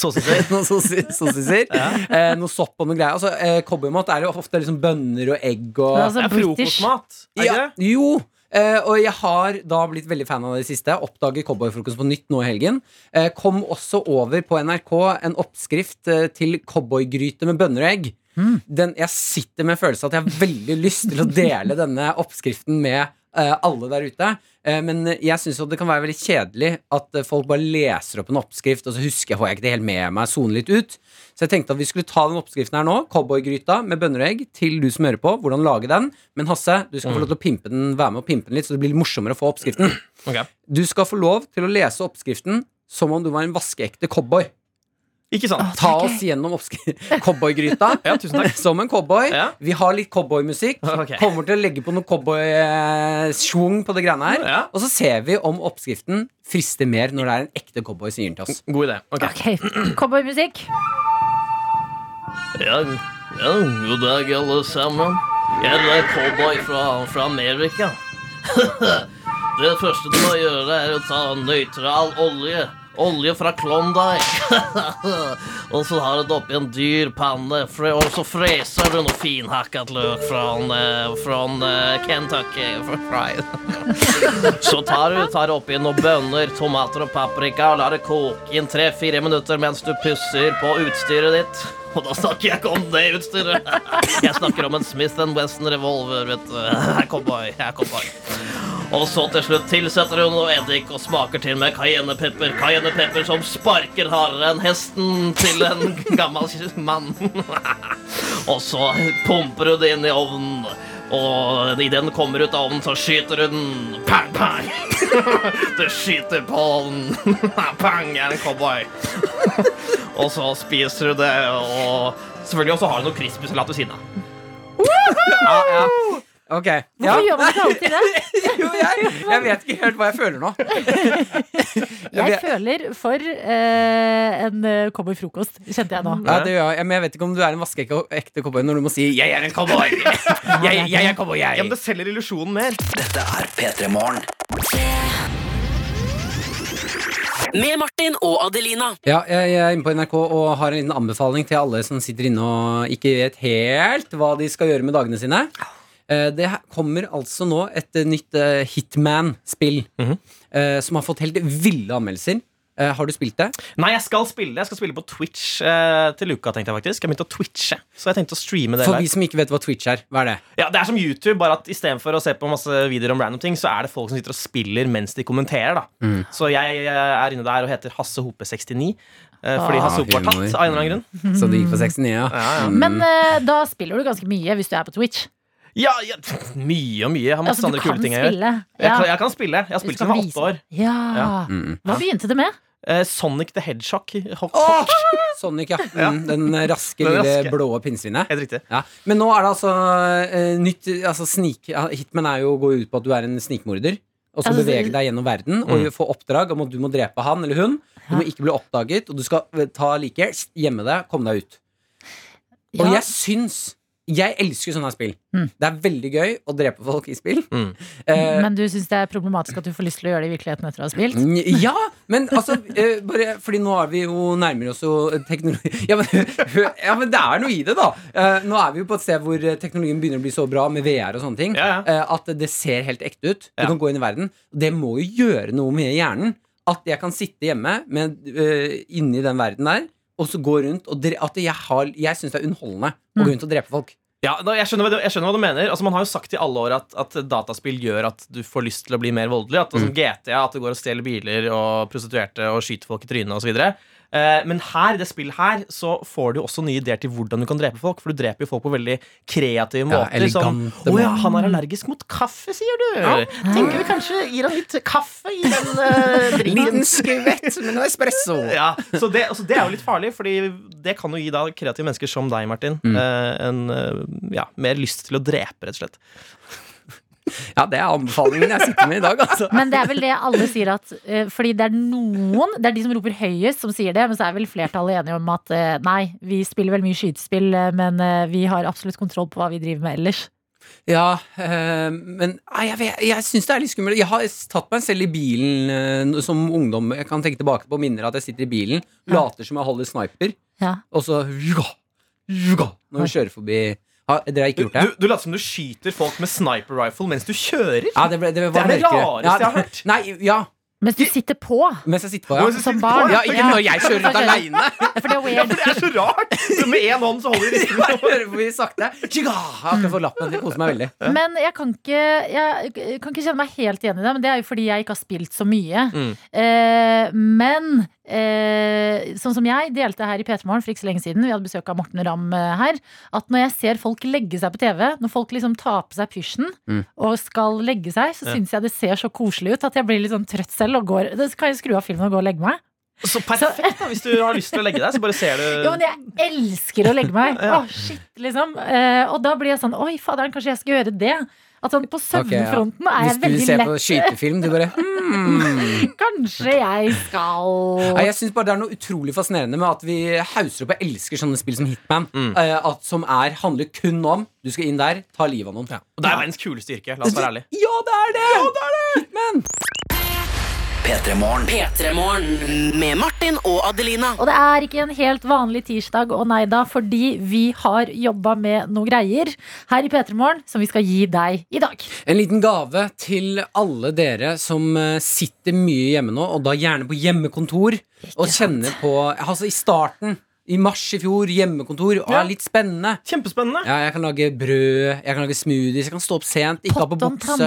S3: noen sossi- sossiser. eh, noe sopp og noe greier. Altså, eh, cowboymat er jo ofte liksom bønner og egg og
S9: Det er altså Det er British. frokostmat, er
S3: ja, Jo. Eh, og jeg har da blitt veldig fan av det siste. Oppdaget cowboyfrokost på nytt nå i helgen. Eh, kom også over på NRK en oppskrift eh, til cowboygryte med bønner og egg.
S9: Hmm.
S3: Den, jeg sitter med følelsen at jeg har veldig lyst til å dele denne oppskriften med eh, alle der ute. Eh, men jeg syns det kan være veldig kjedelig at eh, folk bare leser opp en oppskrift, og så husker jeg, får jeg ikke det helt med meg, soner litt ut. Så jeg tenkte at vi skulle ta den oppskriften her nå, cowboygryta med bønner og egg, til du som hører på, hvordan lage den. Men Hasse, du skal
S9: Mm.
S3: få lov til å pimpe den, være med og pimpe den litt, så det blir morsommere å få oppskriften.
S9: Ok.
S3: Du skal få lov til å lese oppskriften som om du var en vaskeekte cowboy.
S9: Ikke sant?
S3: Ta oss gjennom oppskri- cowboygryta som en cowboy. Vi har litt cowboymusikk.
S9: Ok.
S3: Kommer til å legge på noe cowboysjung på det greiene her. Og så ser vi om oppskriften frister mer når det er en ekte cowboy som gir den til oss.
S9: God idé.
S2: Ok, Cowboymusikk.
S11: Ja, ja, god dag, alle sammen. Jeg er en eh, cowboy fra, fra Amerika. Det første du må gjøre, er å ta nøytral olje. Olje fra Klondyke. og så har du det oppi en dyr panne, fre- og så freser du noe finhakket løk fra, eh, fra eh, Kentucky. Fra Fried. så tar du, tar du oppi noen bønner, tomater og paprika og lar det koke inn tre-fire minutter mens du pusser på utstyret ditt. Og da snakker jeg ikke om det utstyret. Jeg snakker om en Smith Wesson revolver, vet du. Jeg er cowboy. Jeg er cowboy. Og så til slutt tilsetter hun noe eddik og smaker til med cayennepepper. Cayennepepper som sparker hardere enn hesten til en gammel mann. Og så pumper hun det inn i ovnen. Og idet den kommer ut av ovnen, så skyter hun Pang, pang! Det skyter på ovnen. Pang, jeg er en cowboy. Og så spiser du det, og selvfølgelig også har du noe crispy-salat ved siden av.
S3: Ja, ja. Ok.
S2: Hvorfor gjør man ikke alltid det?
S3: jo, jeg, jeg vet ikke helt hva jeg føler nå.
S2: Jeg føler for eh, en eh, cowboyfrokost, kjente jeg nå.
S3: Ja, det gjør jeg, men jeg vet ikke om du er en vaskeekte cowboy når du må si 'jeg er en cowboy'. Jeg, jeg er cowboy, jeg.
S9: Ja, men det selger illusjonen mer.
S4: Dette er P3 Morgen.
S5: Med Martin og Adelina.
S3: Ja, jeg er inne på NRK og har en liten anbefaling til alle som sitter inne og ikke vet helt hva de skal gjøre med dagene sine. Eh, Det her kommer altså nå et eh, nytt eh, Hitman-spill eh, som har fått helt ville anmeldelser. Eh, Har du spilt det?
S9: Nei, jeg skal spille Jeg skal spille på Twitch eh, til uka, tenkte jeg faktisk. Jeg begynte å twitche, så jeg tenkte å streame det
S3: For
S9: live.
S3: vi som ikke vet hva Twitch er, hva er det?
S9: Ja, Det er som YouTube, bare at istedenfor å se på masse videoer om random ting, så er det folk som sitter og spiller mens de kommenterer. da
S3: Mm.
S9: Så jeg eh, er inne der og heter Hasse Hope 69. eh, Fordi
S3: Ah.
S9: Hasse Hope var tatt, av en eller annen grunn.
S3: Så det gikk på 69, ja. Mm.
S2: Men eh, da spiller du ganske mye hvis du er på Twitch.
S9: Ja, ja, pff, mye og mye. Jeg har masse
S2: Altså, du
S9: andre
S2: kan
S9: kule ting jeg gjør.
S2: spille.
S9: Jeg,
S2: Ja.
S9: kan, jeg kan spille. Jeg har
S2: Du
S9: spilt
S2: skal
S9: siden jeg
S2: vise-
S9: var åtte år.
S2: Ja.
S9: Ja.
S3: Mm.
S2: Hva begynte det med?
S9: Eh, Sonic the Hedgehog. Ho-
S3: Åh! Sonic, ja. Mm, Den raske
S9: Den
S3: lille
S9: raske.
S3: blå pinnsvinet. Ja. Men nå er det altså eh, nytt altså snik, ja, Hitman er jo å gå ut på at du er en snikmorder. Og så
S9: Altså,
S3: bevege deg gjennom verden og
S9: Mm.
S3: få oppdrag om at du må drepe han eller hun. Du må ikke bli oppdaget, og du skal eh, ta like, gjemme deg, komme deg ut. Og
S2: Ja.
S3: jeg syns Jeg elsker sånne spill.
S2: Mm.
S3: Det er veldig gøy å drepe folk i spill.
S9: Mm.
S3: Eh,
S2: Men du syns det er problematisk at du får lyst til å gjøre det i virkeligheten etter å ha spilt?
S3: Nj- Ja, men altså eh, bare, Fordi nå er vi jo nærmere oss jo eh, teknologi ja men, hø- ja, men det er noe i det, da. Eh, nå er vi jo på et sted hvor eh, teknologien begynner å bli så bra med VR og sånne ting eh, at det ser helt ekte ut. Du kan gå inn i verden. Det må jo gjøre noe med hjernen. At jeg kan sitte hjemme med, eh, inni den verden der og så gå rundt og dre At jeg, har- jeg syns det er underholdende å gå rundt og drepe folk.
S9: Ja, da, jeg, skjønner hva du, jeg skjønner hva du mener. Altså, man har jo sagt i alle år at, at dataspill gjør at du får lyst til å bli mer voldelig. At, altså,
S3: Mm.
S9: GTA, at du går og stjeler biler og prostituerte og skyter folk i trynet osv. Eh, men her, i det spillet her så får du jo også nye ideer til hvordan du kan drepe folk. For du dreper jo folk på veldig kreative
S3: Ja,
S9: måter. som
S3: elegante
S9: Å ja,
S3: måter.
S9: han er allergisk mot kaffe, sier du. Tenker vi kanskje gir han litt kaffe i den eh, drinken.
S3: Liten skvett med noe espresso.
S9: Ja, så det, altså, det er jo litt farlig, Fordi det kan jo gi da kreative mennesker som deg, Martin,
S3: Mm.
S9: eh, en, eh, ja, mer lyst til å drepe, rett og slett.
S3: Ja, det er anbefalingen jeg sitter med i dag, altså.
S2: Men det er vel det alle sier at eh, Fordi det er noen, det er de som roper høyest som sier det, men så er vel flertallet enige om at eh, nei, vi spiller vel mye skytespill, eh, men eh, vi har absolutt kontroll på hva vi driver med ellers.
S3: Ja, eh, men nei, jeg, vet- jeg syns det er litt skummelt. Jeg har tatt meg selv i bilen eh, no- som ungdom. Jeg kan tenke tilbake på minner at jeg sitter i bilen, later som jeg holder sniper,
S2: Ja.
S3: og så juga, juga, når jeg kjører forbi. Har dere ikke gjort det?
S9: Du, du later som du skyter folk med sniper rifle mens du kjører.
S3: Ja, det, ble, det, var
S9: Det er det
S3: mørkere.
S9: rareste
S3: ja,
S9: jeg har hørt.
S3: Nei, ja.
S2: Mens du sitter på.
S3: Mens jeg sitter på, ja.
S2: Som barn.
S3: Ja, ikke når jeg kjører rundt alene.
S2: For det er
S9: Ja,
S2: weird.
S9: for det er så rart! Så med én hånd så holder du
S3: Jeg bare hører forbi sakte. Juga! Jeg har akkurat fått lappen. Det koser meg veldig.
S2: Men jeg kan, ikke, jeg kan ikke kjenne meg helt igjen i det, men det er jo fordi jeg ikke har spilt så mye.
S3: Mm.
S2: Eh, men eh, sånn som jeg delte her i P3 Morgen for ikke så lenge siden, vi hadde besøk av Morten Ramm eh, her, at når jeg ser folk legge seg på TV, når folk liksom tar på seg pysjen
S3: Mm.
S2: og skal legge seg, så
S9: Ja.
S2: syns jeg det ser så koselig ut at jeg blir litt sånn trøtt selv og går Da kan jeg skru av filmen og gå og legge meg.
S9: Så perfekt, da, hvis du har lyst til å legge deg, så bare ser
S3: Eh.
S2: Jo, men
S9: du
S2: jeg elsker å legge meg. Åh,
S9: Ja.
S2: shit, liksom. Eh, og da blir jeg sånn Oi, faderen, kanskje jeg skal gjøre det. At sånn på
S3: Ok, ja.
S2: søvnfronten er jeg
S3: Hvis du
S2: veldig
S3: ser
S2: lett
S3: på skytefilm, du bare hmm.
S2: Kanskje jeg skal
S3: Nei, jeg synes bare Det er noe utrolig fascinerende med at vi hauser opp og elsker sånne spill som Hitman.
S9: Mm.
S3: eh, at Som er, handler kun om du skal inn der, ta livet av noen. Ja.
S9: Det er verdens kuleste yrke. La oss være ærlige.
S3: Ja, det er det! Hitman!
S4: P3 Morgen.
S5: P3morgen med Martin og Adelina.
S2: Og det er ikke en helt vanlig tirsdag, og nei da, fordi vi har jobba med noe greier her i P3 Morgen som vi skal gi deg i dag.
S3: En liten gave til alle dere som eh, sitter mye hjemme nå, og da gjerne på hjemmekontor. Og kjenner på Altså, i starten, i mars i fjor, hjemmekontor. Ja.
S9: Ja.
S3: Er litt spennende.
S9: Kjempespennende.
S3: Ja, jeg kan lage brød, jeg kan lage smoothies, jeg kan stå opp sent. Ikke ha på bukse.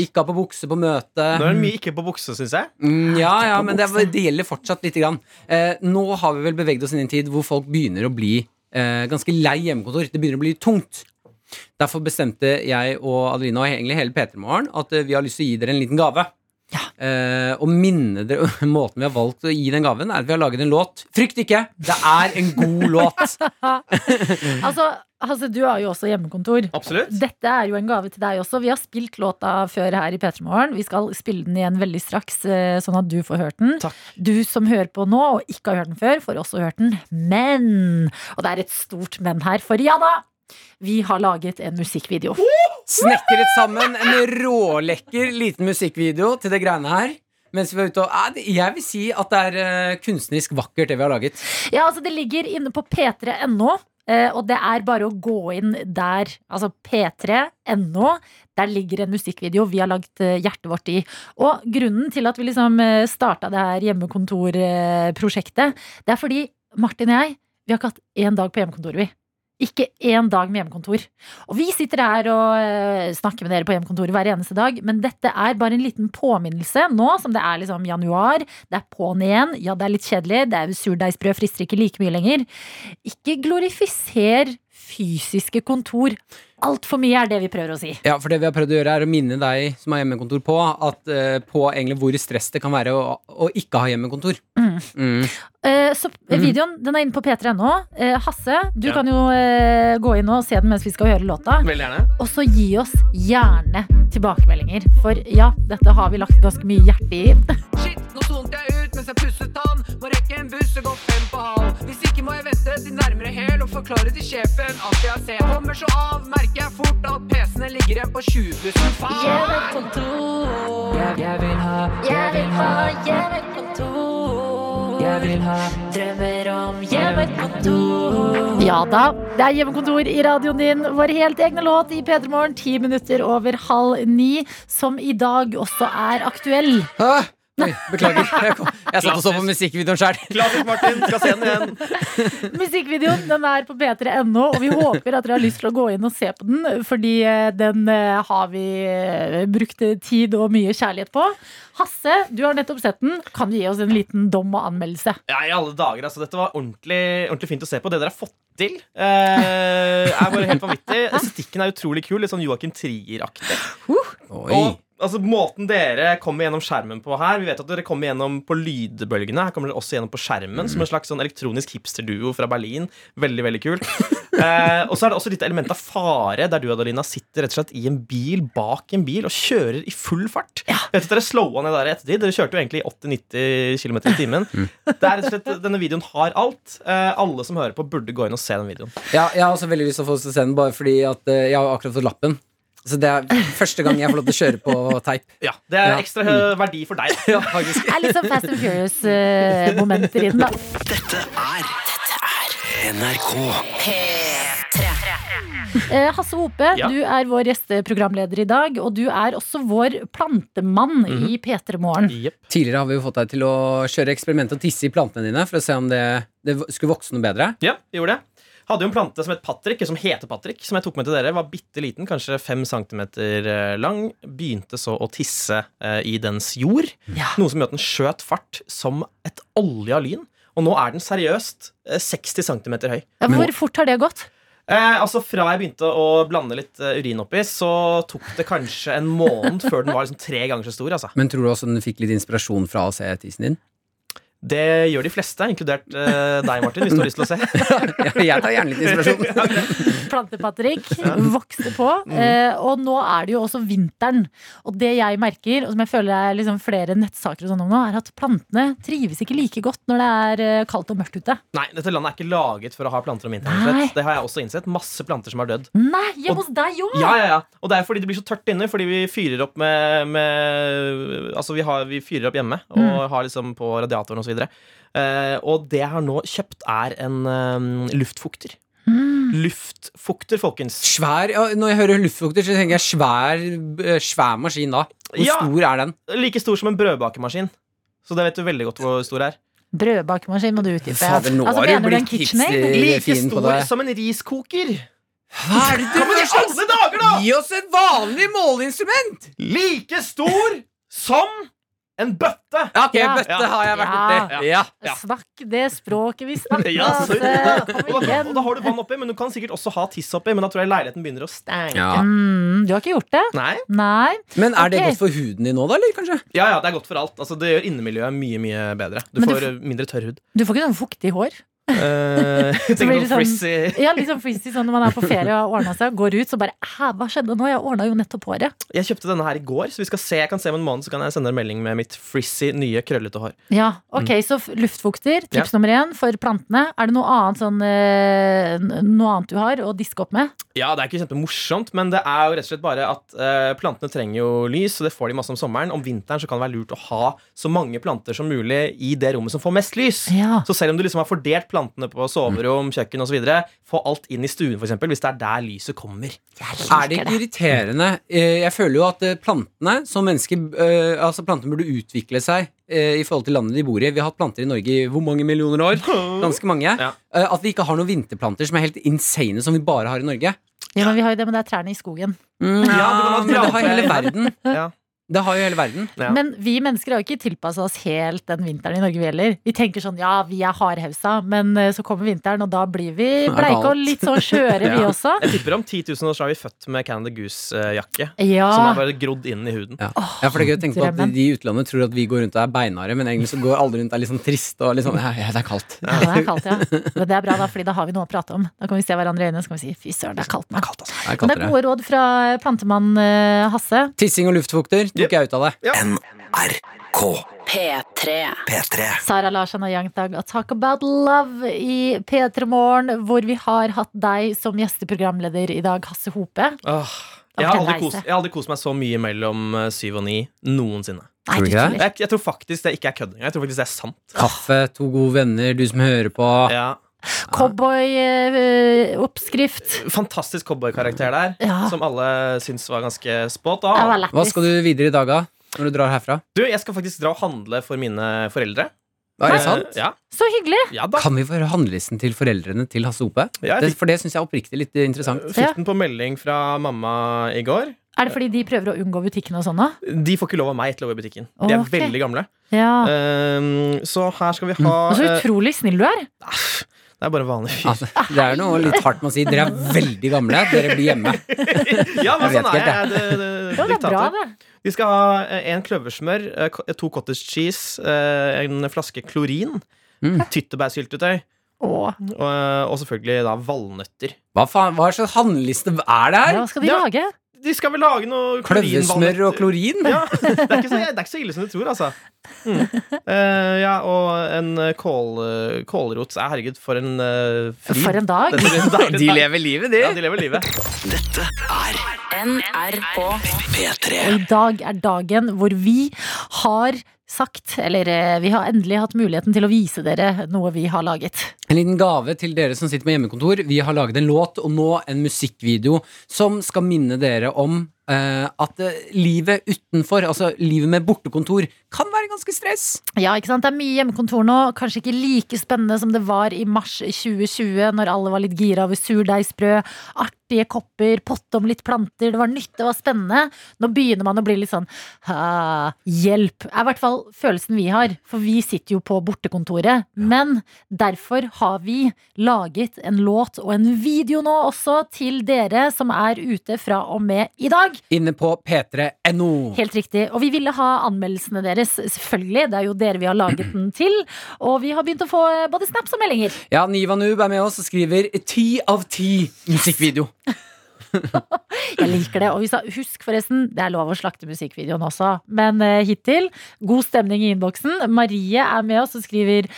S3: Ikke ha på bukse på møte.
S9: Nå er det mye ikke på bukse, syns jeg.
S3: Mm, ja, ja,
S9: på
S3: men det, er-
S9: buksa.
S3: det gjelder fortsatt lite grann. Eh, nå har vi vel beveget oss inn i en tid hvor folk begynner å bli eh, ganske lei hjemmekontor. Det begynner å bli tungt. Derfor bestemte jeg og Adelina og egentlig hele P3morgen at eh, vi har lyst til å gi dere en liten gave. Eh, og minne dere Måten vi har valgt å gi den gaven, er at vi har laget en låt. Frykt ikke! Det er en god låt.
S2: Altså, Hasse, du har jo også hjemmekontor. Dette er jo en gave til deg også. Vi har spilt låta før her i P3 Morgen. Vi skal spille den igjen veldig straks, eh, sånn at du får hørt den. Du som hører på nå og ikke har hørt den før, får også hørt den. Men Og det er et stort men her, for ja da! Vi har laget en musikkvideo.
S3: Snekret sammen en rålekker liten musikkvideo til det greiene her. Mens vi var ute og Eh, det- Jeg vil si at det er eh, kunstnerisk vakkert, det vi har laget.
S2: Ja, altså Det ligger inne på p3.no, eh, og det er bare å gå inn der. Altså p3.no. Der ligger en musikkvideo vi har lagt eh, hjertet vårt i. Og grunnen til at vi liksom starta det her hjemmekontorprosjektet, det er fordi Martin og jeg, vi har ikke hatt én dag på hjemmekontoret, vi. Ikke én dag med hjemmekontor. Og vi sitter her og eh, snakker med dere på hjemmekontoret hver eneste dag, men dette er bare en liten påminnelse nå som det er liksom januar. Det er på'n igjen. Ja, det er litt kjedelig. Det er Surdeigsbrød frister ikke like mye lenger. Ikke glorifiser fysiske kontor. Altfor mye er det vi prøver å si.
S3: Ja, for det vi har prøvd å gjøre er å minne deg som har hjemmekontor på, at, eh, på egentlig hvor stress det kan være å, å ikke ha hjemmekontor.
S2: Mm.
S3: Mm.
S2: Eh, Så eh,
S3: Mhm.
S2: videoen den er inne på p3.no. Eh, Hasse, du
S3: Ja.
S2: kan jo eh, gå inn og se den mens vi skal høre låta.
S9: Veldig gjerne.
S2: Og så gi oss gjerne tilbakemeldinger. For ja, dette har vi lagt ganske mye hjerte i.
S13: Nå stonte jeg ut mens jeg pusset tann. Må rekke en buss og gå fem på halv. Hvis ikke må jeg vente til nærmere hel og forklare til sjefen at jeg ser. Kommer så av, merker jeg fort at PC-ene ligger igjen på 20-bussen. Faen! Hjemmekontor. Jeg, jeg vil ha
S16: Jeg vil ha
S13: hjemmekontor. Jeg vil ha drømmer om hjemmekontor.
S2: Ja da, det er hjemmekontor i radioen din. Vår helt egne låt i P3 Morgen, ti minutter over halv ni, som i dag også er aktuell.
S3: Oi, beklager. Jeg, kom, jeg satt og så på musikkvideoen sjøl.
S9: Klassisk Martin, skal se den igjen.
S2: Musikkvideoen den er på p3.no, og vi håper at dere har lyst til å gå inn og se på den. Fordi eh, den eh, har vi eh, brukt tid og mye kjærlighet på. Hasse, du har nettopp sett den. Kan du gi oss en liten dom og anmeldelse?
S9: Ja, i alle dager, altså. Dette var ordentlig, ordentlig fint å se på. Det dere har fått til, eh, er bare helt vanvittig. Estetikken er utrolig kul. Litt sånn Joakim Trier-aktig. Og altså, måten dere kommer gjennom skjermen på her Vi vet at dere kommer gjennom på lydbølgene. Her kommer dere også gjennom på skjermen
S3: Mm.
S9: som en slags sånn elektronisk hipsterduo fra Berlin. Veldig, veldig kult. eh, og så er det også litt element av fare, der du Adelina, sitter rett og slett i en bil bak en bil og kjører i full fart. Vet du, Dere slowa ned der i ettertid. Dere kjørte jo egentlig i 80-90 km i timen.
S3: Mm.
S9: Det er rett og slett, Denne videoen har alt. Eh, alle som hører på, burde gå inn og se den videoen.
S3: Ja, jeg har også veldig lyst til å få oss til scenen, bare fordi at eh, jeg har akkurat fått lappen. Så det er første gang jeg får lov til å kjøre på teip.
S9: Ja, Det er
S3: Ja.
S9: ekstra hø- verdi for deg.
S3: ja, faktisk.
S2: Det er litt sånn Fast and Furious-momenter i den, da.
S4: NRK.
S2: Eh, Hasse Hope,
S4: Ja.
S2: du er vår gjesteprogramleder i dag, og du er også vår plantemann i P3 Morgen.
S3: Tidligere har vi jo fått deg til å kjøre eksperiment og tisse i plantene dine for å se om det, det skulle vokse noe bedre.
S9: Ja, vi gjorde det. Hadde jo en plante som het Patrick, som heter Patrick, som jeg tok med til dere. Var bitte liten, kanskje fem centimeter eh, lang. Begynte så å tisse eh, i dens jord. Noe som gjør at den skjøt fart som et olja lyn. Og nå er den seriøst eh, 60 centimeter høy.
S2: Ja, Hvor fort har det gått?
S9: Eh, altså Fra jeg begynte å blande litt eh, urin oppi, så tok det kanskje en måned før den var liksom tre ganger så stor. altså
S3: Men tror du også den fikk litt inspirasjon fra å se tissen din?
S9: Det gjør de fleste, inkludert eh, deg, Martin, hvis du har lyst til å se.
S3: jeg tar gjerne litt inspirasjon.
S2: Plante-Patrick vokste på.
S3: Mm.
S2: eh, Og nå er det jo også vinteren. Og det jeg merker, og som jeg føler er liksom flere nettsaker og sånn om nå, er at plantene trives ikke like godt når det er eh, kaldt og mørkt ute.
S9: Nei, dette landet er ikke laget for å ha planter om vinteren.
S2: Nei.
S9: rett og slett. Det har jeg også innsett. Masse planter som har dødd.
S3: Mm.
S2: Nei, hjemme hos deg òg!
S9: Ja, ja, ja. Og det er fordi det blir så tørt inne, fordi vi fyrer opp med, med Altså, vi, har, vi fyrer opp hjemme og
S17: Mm.
S9: har liksom på radiatoren og så videre. Eh, og det jeg har nå kjøpt, er en eh, luftfukter. Luftfukter, folkens.
S3: Mm. Svær, ja, når jeg hører luftfukter, så tenker jeg svær, eh, svær maskin da. Hvor
S9: Ja.
S3: stor er den?
S9: Like stor som en brødbakemaskin. Så det vet du veldig godt hvor stor det er.
S2: Brødbakemaskin må du utdype. Altså,
S3: Fader, nå har du
S2: mener en
S3: blitt
S2: KitchenAid?
S3: hipster. Like
S9: Like
S3: fin på
S9: stor
S3: deg.
S9: som en riskoker.
S3: Hva er det
S9: Ja, men i alle dager, da!
S3: Gi oss et vanlig måleinstrument!
S9: Like stor som En bøtte!
S3: Ja, ok,
S2: Ja.
S3: bøtte har jeg vært borti. Ja. Ja.
S2: Snakk det språket vi snakker.
S9: Ja,
S2: altså.
S9: sorry.
S2: Kom
S9: Og da,
S2: igjen.
S9: og da har du vann oppi, men du kan sikkert også ha tiss oppi. Men da tror jeg leiligheten begynner å stenke.
S2: Mm, du har ikke gjort det?
S9: Nei.
S2: Nei.
S3: Men er det
S2: Ok.
S3: godt for huden din nå, da? eller kanskje?
S9: Ja, ja, det er godt for alt. Altså, det gjør innemiljøet mye, mye bedre. Du
S2: Men du
S9: får eh, mindre tørr hud.
S2: Du får ikke sånn fuktig hår?
S9: Eh,
S2: Så
S9: tenker
S2: blir
S9: du
S2: det sånn-
S9: frizzy?
S2: Ja, litt sånn frizzy sånn når man er på ferie og har ordnet seg og går ut, så bare Hæ, hva skjedde nå? Jeg ordna jo nettopp håret.
S9: Jeg kjøpte denne her i går, så vi skal se. jeg kan se om en måned så kan jeg sende en melding med mitt frizzy, nye, krøllete hår.
S2: Ja, ok,
S9: Mm.
S2: Så f- luftfukter, tips
S9: Ja.
S2: nummer én for plantene. Er det noe annet, sånn, eh, n- noe annet du har å diske opp med?
S9: Ja, Det er ikke kjempemorsomt, men det er jo rett og slett bare at eh, plantene trenger jo lys, og det får de masse om sommeren. Om vinteren så kan det være lurt å ha så mange planter som mulig i det rommet som får mest lys. Så selv om du liksom har fordelt plantene på soverom, kjøkken osv., få alt inn i stuen, for eksempel, hvis det er der lyset kommer.
S3: Er det ikke irriterende? Eh, Jeg føler jo at eh, plantene som mennesker eh, Altså plantene burde utvikle seg eh, i forhold til landet de bor i. Vi har hatt planter i Norge i hvor mange millioner år? Ganske mange. Eh, At vi ikke har noen vinterplanter som er helt insane, som vi bare har i Norge.
S2: Ja, men Vi har jo det, men det er trærne i skogen.
S3: Mm, ja, men det har hele verden.
S9: Ja.
S3: Det har jo hele verden.
S2: Men vi mennesker har jo ikke tilpassa oss helt den vinteren i Norge, vi heller. Vi tenker sånn ja, vi er hardhausa, men eh, så kommer vinteren, og da blir vi
S9: Det er
S2: bleike og
S9: galt.
S2: litt sånn skjøre, vi
S9: Ja.
S2: også.
S9: Jeg tipper om 10 000 år så er vi født med Canada Goose-jakke.
S2: Ja.
S9: Som er bare grodd inn i huden.
S3: Ja, for det er gøy å tenke på at
S9: drømmen.
S3: De i utlandet tror at vi går rundt og er beinharde, men egentlig så går alle rundt og er litt sånn triste og litt sånn Ja, ja, det er kaldt.
S2: Ja, det er kaldt, ja. Men det er bra, da, fordi da har vi noe å prate om. Da kan vi se hverandre i øynene så kan vi si fy søren, det er kaldt nå.
S3: Det er
S2: Men det er
S3: kaldere.
S2: gode råd fra plantemann eh, Hasse.
S3: Tissing og luftfukter tok jeg ut av det. NRK
S2: P3.
S3: P3.
S2: Sara Larsson og Youngthug og Talk About Love i P3 Morgen, hvor vi har hatt deg som gjesteprogramleder i dag, Hasse Hope.
S9: Åh,
S2: Da
S9: jeg, har
S2: fortell
S9: aldri
S2: reise.
S9: kost, jeg har aldri kost meg så mye mellom eh, syv og ni noensinne.
S2: Nei, Tror du ikke det?
S9: Jeg, jeg tror faktisk det ikke er kødd engang. Jeg tror faktisk det er sant.
S3: Kaffe, to gode venner, du som hører på.
S2: eh, Cowboy-oppskrift.
S9: Fantastisk cowboykarakter der,
S2: Ja.
S9: som alle syns var ganske spot
S2: Det var
S9: on.
S2: lættis. Hva skal
S3: du videre i dag, da? Når du drar herfra?
S9: Du, jeg skal faktisk dra og handle for mine foreldre.
S3: Er det
S9: Eh,
S3: sant?
S9: Ja.
S2: Så hyggelig!
S9: ja da.
S3: Kan vi få høre handlelisten til foreldrene til Hasse Ope?
S9: Ja, jeg
S3: det,
S9: fikk-
S3: for det syns jeg er oppriktig litt eh, interessant.
S9: Fikk den på melding fra mamma i går.
S2: Er det fordi de prøver å unngå butikken og sånn, da?
S9: De får ikke lov av meg til å gå i butikken. De er
S2: Ok.
S9: veldig gamle.
S2: Ja.
S9: Eh, så her skal vi ha
S2: Og så
S9: eh,
S2: utrolig snill du er.
S9: Det er bare vanlig fyr.
S3: Altså, Det er noe litt hardt med å si. Dere er veldig gamle. Dere blir hjemme.
S9: Ja, men
S3: Jeg vet
S9: sånn er jeg.
S3: ikke helt,
S9: jeg er det, det,
S2: Jo, det er bra,
S9: diktator. Vi skal ha eh, en kløversmør, eh, ko- to cottage cheese, eh, en flaske klorin,
S3: Mm.
S9: tyttebærsyltetøy
S2: og,
S9: eh, og selvfølgelig da valnøtter.
S3: Hva faen, hva slags handleliste er det her?
S9: Ja, hva skal de Ja.
S2: lage?
S9: De skal vel lage noe
S3: Kløvesmør og klorin?
S9: Ja, det, er ikke så, det er ikke så ille som du tror, altså. Mm. Eh, ja, og en eh, kål, eh, kålrot. Eh, Herregud, for en uh, fri.
S2: For en dag.
S9: Dette blir en deilig
S3: De
S9: dag.
S3: lever livet, de.
S9: Ja, de lever livet.
S4: Dette er
S5: NRK
S4: P3.
S2: Og i dag er dagen hvor vi har sagt, eller eh, vi har endelig hatt muligheten til å vise dere noe vi har laget.
S3: En liten gave til dere som sitter med hjemmekontor. Vi har laget en låt, og nå en musikkvideo, som skal minne dere om eh, at eh, livet utenfor, altså livet med bortekontor, kan være ganske stress.
S2: Ja, ikke sant? Det er mye hjemmekontor nå. Kanskje ikke like spennende som det var i mars 2020, når alle var litt gira over surdeigsbrød, artige kopper, potte om litt planter. Det var nytt, det var spennende. Nå begynner man å bli litt sånn «Ah, Hjelp! er i hvert fall følelsen vi har. For vi sitter jo på bortekontoret. Men derfor har vi laget en låt og en video nå også til dere som er ute fra og med i dag.
S3: Inne på p3.no.
S2: Helt riktig. Og vi ville ha anmeldelsene deres, selvfølgelig. Det er jo dere vi har laget den til. Og vi har begynt å få eh, både snaps og meldinger.
S3: Ja, Niva Noob er med oss og skriver ti av ti musikkvideo.
S2: Jeg liker det. Og vi sa, husk forresten, det er lov å slakte musikkvideoen også. Men eh, hittil, god stemning i innboksen. Marie er med oss og skriver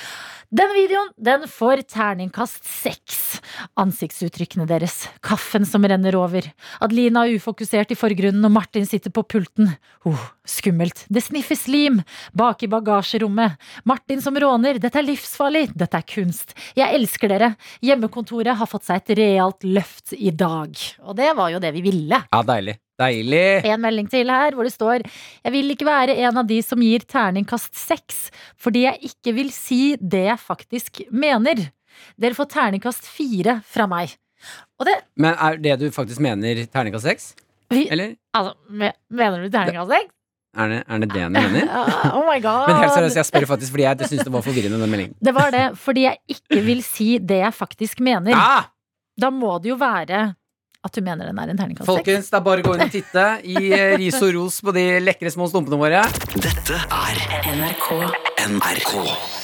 S2: den videoen den får terningkast seks. Ansiktsuttrykkene deres, kaffen som renner over. Adelina er ufokusert i forgrunnen, og Martin sitter på pulten. Oh, skummelt. Det sniffes lim. Bak i bagasjerommet. Martin som råner. Dette er livsfarlig. Dette er kunst. Jeg elsker dere. Hjemmekontoret har fått seg et realt løft i dag. Og det var jo det vi ville.
S3: Ja, deilig. Deilig.
S2: En melding til her hvor det står Jeg vil ikke være en av de som gir terningkast seks, fordi jeg ikke vil si det jeg faktisk mener. Dere får terningkast fire fra meg. Og det
S3: Men er det du faktisk mener terningkast seks?
S2: vi,
S3: Eller?
S2: Altså, me, mener du terningkast seks?
S3: Er det, er det det han mener?
S2: Ah, Oh my god.
S3: Men helt seriøst, jeg spør faktisk fordi jeg syns det var forvirrende, den meldingen.
S2: Det var det, fordi jeg ikke vil si det jeg faktisk mener.
S3: Ah!
S2: Da må det jo være at du mener den er en terningkast seks.
S3: Folkens, det er bare å gå inn og titte. Gi eh, ris og ros på de lekre små stumpene våre.
S4: Dette er NRK. NRK.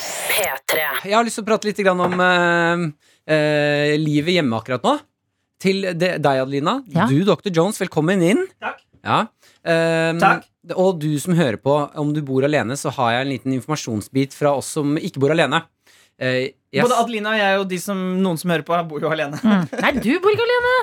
S5: P3.
S3: Jeg har lyst til å prate litt grann om eh, eh, livet hjemme akkurat nå. Til de- deg, Adelina. Du, Dr. Jones, velkommen inn. Takk. Ja. Eh, Og du som hører på, om du bor alene, så har jeg en liten informasjonsbit fra oss som ikke bor alene. Eh, jeg-
S6: Både Adelina og jeg og de som, noen som hører på, bor jo alene.
S2: Nei, du bor ikke alene!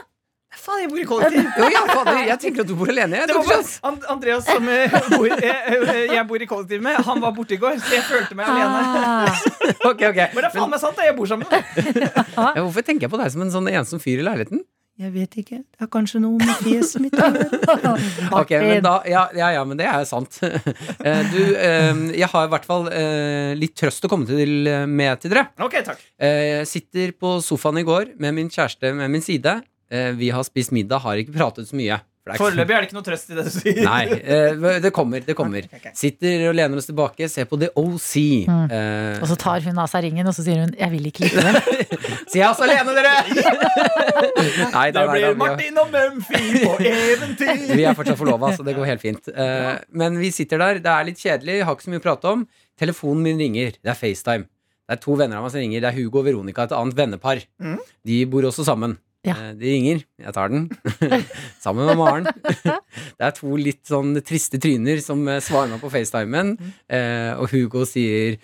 S6: Faen, jeg bor i kollektiv!
S3: Jo, ja, fader, jeg tenker at du bor alene. Jeg,
S6: Det var
S3: Dr.
S6: bare
S3: Jones.
S6: And Andreas, som eh, bor, jeg, jeg bor i kollektiv med, han var borte i går, så jeg følte meg alene.
S3: Ok, ok.
S6: Men det er faen meg sant, da, jeg bor sammen.
S3: Ja, hvorfor tenker jeg på deg som en sånn ensom fyr i leiligheten?
S6: Jeg vet ikke. Det har kanskje noe med fjeset mitt å gjøre.
S3: Ok, men da, ja, ja, ja, men det er jo sant. Eh, du, eh, jeg har i hvert fall eh, litt trøst å komme til med til dere.
S6: Ok, takk.
S3: Eh, Jeg sitter på sofaen i går med min kjæreste ved min side. Eh, Vi har spist middag, har ikke pratet så mye. For det er ikke-
S6: Foreløpig er det ikke noe trøst i det du sier.
S3: Nei, eh, det kommer. det kommer Sitter og lener oss tilbake, ser på The OC.
S2: Mm.
S3: Eh,
S2: Og så tar hun av seg ringen, og så sier hun 'jeg vil ikke like det'.
S3: Så jeg er også alene, dere! Nei, da,
S6: Det
S3: nei, da,
S6: blir
S3: vi har-
S6: Martin og Mumphy på eventyr!
S3: Vi er fortsatt forlova, så det går helt fint. Eh, Men vi sitter der, det er litt kjedelig, har ikke så mye å prate om. Telefonen min ringer, det er FaceTime. Det er to venner av meg som ringer, det er Hugo og Veronica, et annet vennepar.
S6: Mm.
S3: De bor også sammen. Eh, De ringer, jeg tar den. sammen med Maren. det er to litt sånn triste tryner som eh, svarer meg på FaceTimen, eh, og Hugo sier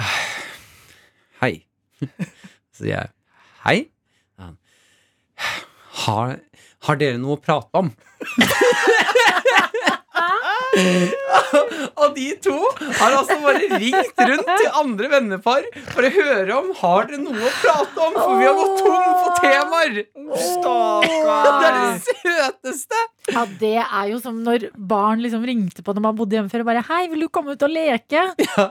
S3: hei. Så sier jeg hei. Ja. Har, har dere noe å prate om? og de to har altså bare ringt rundt til andre vennepar for å høre om har dere noe å prate om, for vi har gått tom for temaer. Det er det søteste!
S2: Ja, det er jo som når barn liksom ringte på når man bodde hjemme før og bare 'hei, vil du komme ut og leke?'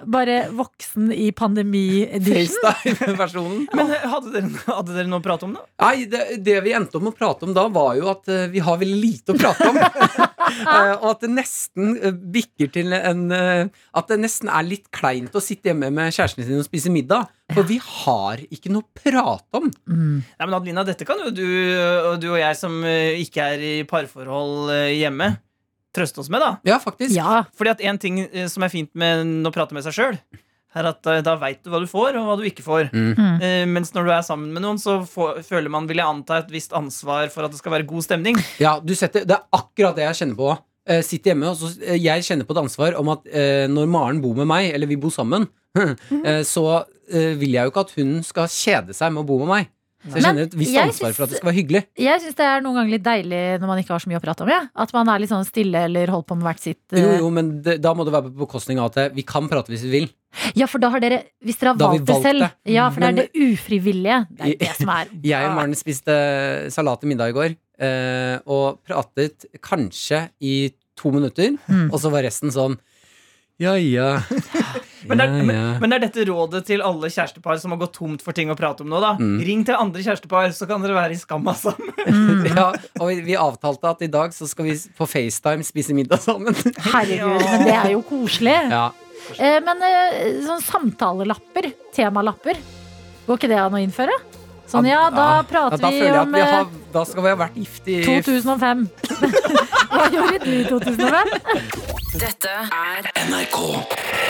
S2: Bare voksen i pandemi-edition.
S3: FaceTime-versjonen.
S6: Men eh, hadde dere, hadde dere noe å prate om, da?
S3: Nei, det, det vi endte om å prate om da, var jo at eh, vi har veldig lite å prate om. Eh, og at det nesten eh, bikker til en eh, At det nesten er litt kleint å sitte hjemme med kjæresten sin og spise middag. For vi har ikke noe å prate om.
S6: Nei, men Adelina, dette kan jo du, og du og jeg som eh, ikke er i parforhold eh, hjemme, trøste oss med, da.
S3: Ja, faktisk.
S6: Fordi at en ting eh, som er fint med å prate med seg sjøl, er at eh, da veit du hva du får, og hva du ikke får.
S3: Mm.
S16: Mm.
S6: Eh, mens når du er sammen med noen, så få- føler man, vil jeg anta, et visst ansvar for at det skal være god stemning.
S3: Ja, du setter, Det er akkurat det jeg kjenner på. Uh, sitter hjemme, og så, eh, Jeg kjenner på et ansvar om at eh, når Maren bor med meg, eller vi bor sammen, eh, så eh, vil jeg jo ikke at hun skal kjede seg med å bo med meg. Så
S2: Men
S3: jeg kjenner et visst
S2: jeg
S3: ansvar for at det
S2: syns-
S3: skal være hyggelig.
S2: Jeg syns det er noen ganger litt deilig når man ikke har så mye å prate om. Ja. At man er litt sånn stille eller holder på med hvert sitt. eh,
S3: Jo, jo, men det, da må det være på bekostning av at eh, vi kan prate hvis vi vil.
S2: Ja, for da har dere Hvis dere har
S3: Da har vi
S2: valgt det
S3: valgt
S2: selv.
S3: det.
S2: Ja, for det er
S3: Men-
S2: det ufrivillige. Det er det som er
S3: Jeg og Maren spiste eh, salat til middag i går, eh, og pratet kanskje i to minutter,
S2: Hmm.
S3: og så var resten sånn ja, ja.
S6: Men det, er,
S3: Ja,
S6: men,
S3: ja.
S6: men det er dette rådet til alle kjærestepar som har gått tomt for ting å prate om nå, da.
S3: Mm.
S6: Ring til andre kjærestepar, så kan dere være i altså. skamma sammen.
S3: ja, og vi- vi avtalte at i dag så skal vi s- på FaceTime spise middag sammen.
S2: Herregud, men det er jo koselig.
S3: Ja.
S2: Eh, Men eh, sånn samtalelapper, temalapper, går ikke det an å innføre? Sånn, ja, da
S3: Ja,
S2: prater
S3: da
S2: vi
S3: føler jeg
S2: om
S3: at vi
S2: eh,
S3: har, Da skal vi ha vært gift i
S2: 2005. Hva gjorde du i 2005?
S5: Dette er
S4: NRK.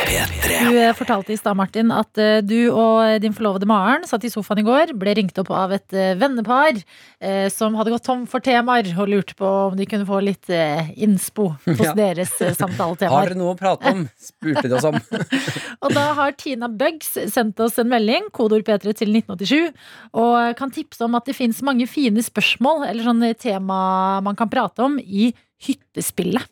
S2: Du eh, fortalte i stad, Martin, at eh, du og eh, din forlovede Maren satt i sofaen i går, ble ringt opp av et eh, vennepar eh, som hadde gått tom for temaer, og lurte på om de kunne få litt eh, innspo hos
S3: Ja.
S2: deres eh,
S3: Har dere
S2: samtaletemaer.
S3: noe å prate om? spurte de oss om.
S2: Og da har Tina Bugs sendt oss en melding, kodeord P3 til 1987, og eh, kan tipse om at det fins mange fine spørsmål eller sånne tema man kan prate om i hyttespillet.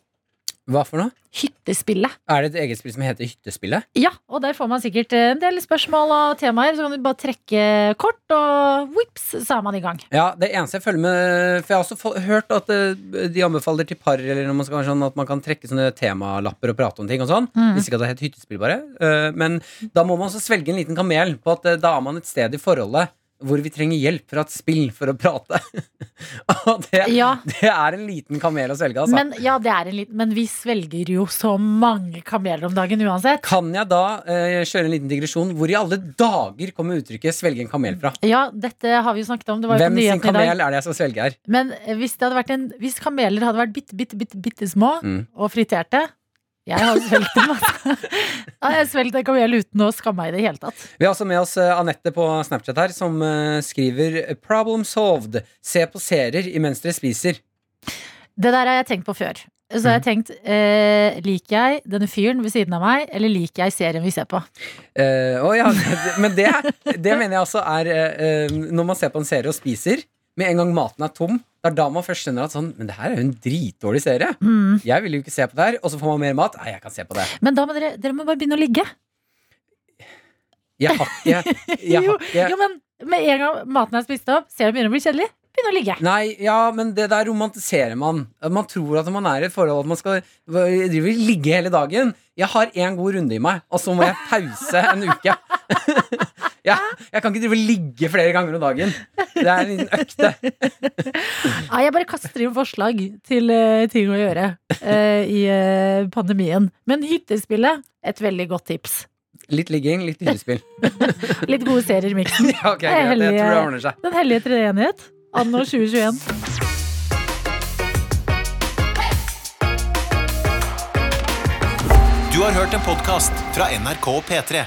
S3: Hva for noe?
S2: Hyttespillet.
S3: Er det et eget spill som heter Hyttespillet?
S2: Ja, og der får man sikkert eh, en del spørsmål og temaer. Så kan du bare trekke kort, og vips, så er man i gang.
S3: Ja, det eneste jeg følger med For jeg har også få- hørt at eh, de anbefaler til par Eller når man skal være sånn at man kan trekke sånne temalapper og prate om ting og sånn.
S2: Mm.
S3: Hvis ikke at det het hyttespill, bare. Eh, Men da må man også svelge en liten kamel på at eh, da er man et sted i forholdet hvor vi trenger hjelp fra et spill for å prate. Og det, det er en liten kamel å svelge, altså.
S2: Men, ja, det er en liten, men vi svelger jo så mange kameler om dagen uansett.
S3: Kan jeg da eh, kjøre en liten digresjon? Hvor i alle dager kommer uttrykket 'svelge en kamel' fra?
S2: Ja, dette har vi jo snakket om. Det var jo på
S3: Hvem sin
S2: nyhetene i
S3: kamel
S2: dag.
S3: er det jeg skal svelge her?
S2: Men eh, hvis, det hadde vært en, hvis kameler hadde vært bitte, bitte, bitte, bitte små
S3: Mm.
S2: og friterte Jeg har svelget dem, altså. Ja, jeg har svelget en kamel uten å skamme meg i det hele tatt.
S3: Vi har også med oss eh, Anette på Snapchat her, som eh, skriver 'Problem solved'. Se på serier imens dere spiser.
S2: Det der har jeg tenkt på før. Så
S3: Mm.
S2: har jeg tenkt eh, Liker jeg denne fyren ved siden av meg, eller liker jeg serien vi ser på?
S3: Eh, å ja, det- men det, det mener jeg altså er eh, eh, Når man ser på en serie og spiser, med en gang maten er tom, det er da man først skjønner at sånn Men det her er jo en dritdårlig serie.
S2: Mm.
S3: Jeg vil jo ikke se på det her. Og så får man mer mat. Nei, jeg kan se på det.
S2: Men da må dere, dere må bare begynne å ligge.
S3: Jeg har ikke, jeg
S2: jo,
S3: har ikke.
S2: jo, men med en gang maten er spist opp, serien begynner å bli kjedelig, begynn å ligge.
S3: Nei, ja, men det der romantiserer man. Man tror at man er i et forhold at man skal drive, ligge hele dagen. Jeg har én god runde i meg, og så må jeg pause en uke. jeg, jeg kan ikke drive og ligge flere ganger om dagen. Det er en liten økt.
S2: Nei, jeg bare kaster inn forslag til eh, ting å gjøre eh, i eh, pandemien. Men hyttespillet, et veldig godt tips.
S3: Litt ligging, litt hyllespill.
S2: Litt gode serier i miksen.
S3: Ja, ok,
S2: Det er
S3: greit. Jeg
S2: hellige-
S3: tror det ordner seg.
S2: Den hellige treenighet. Anno 2021.
S1: Du har hørt en podcast fra NRK P3.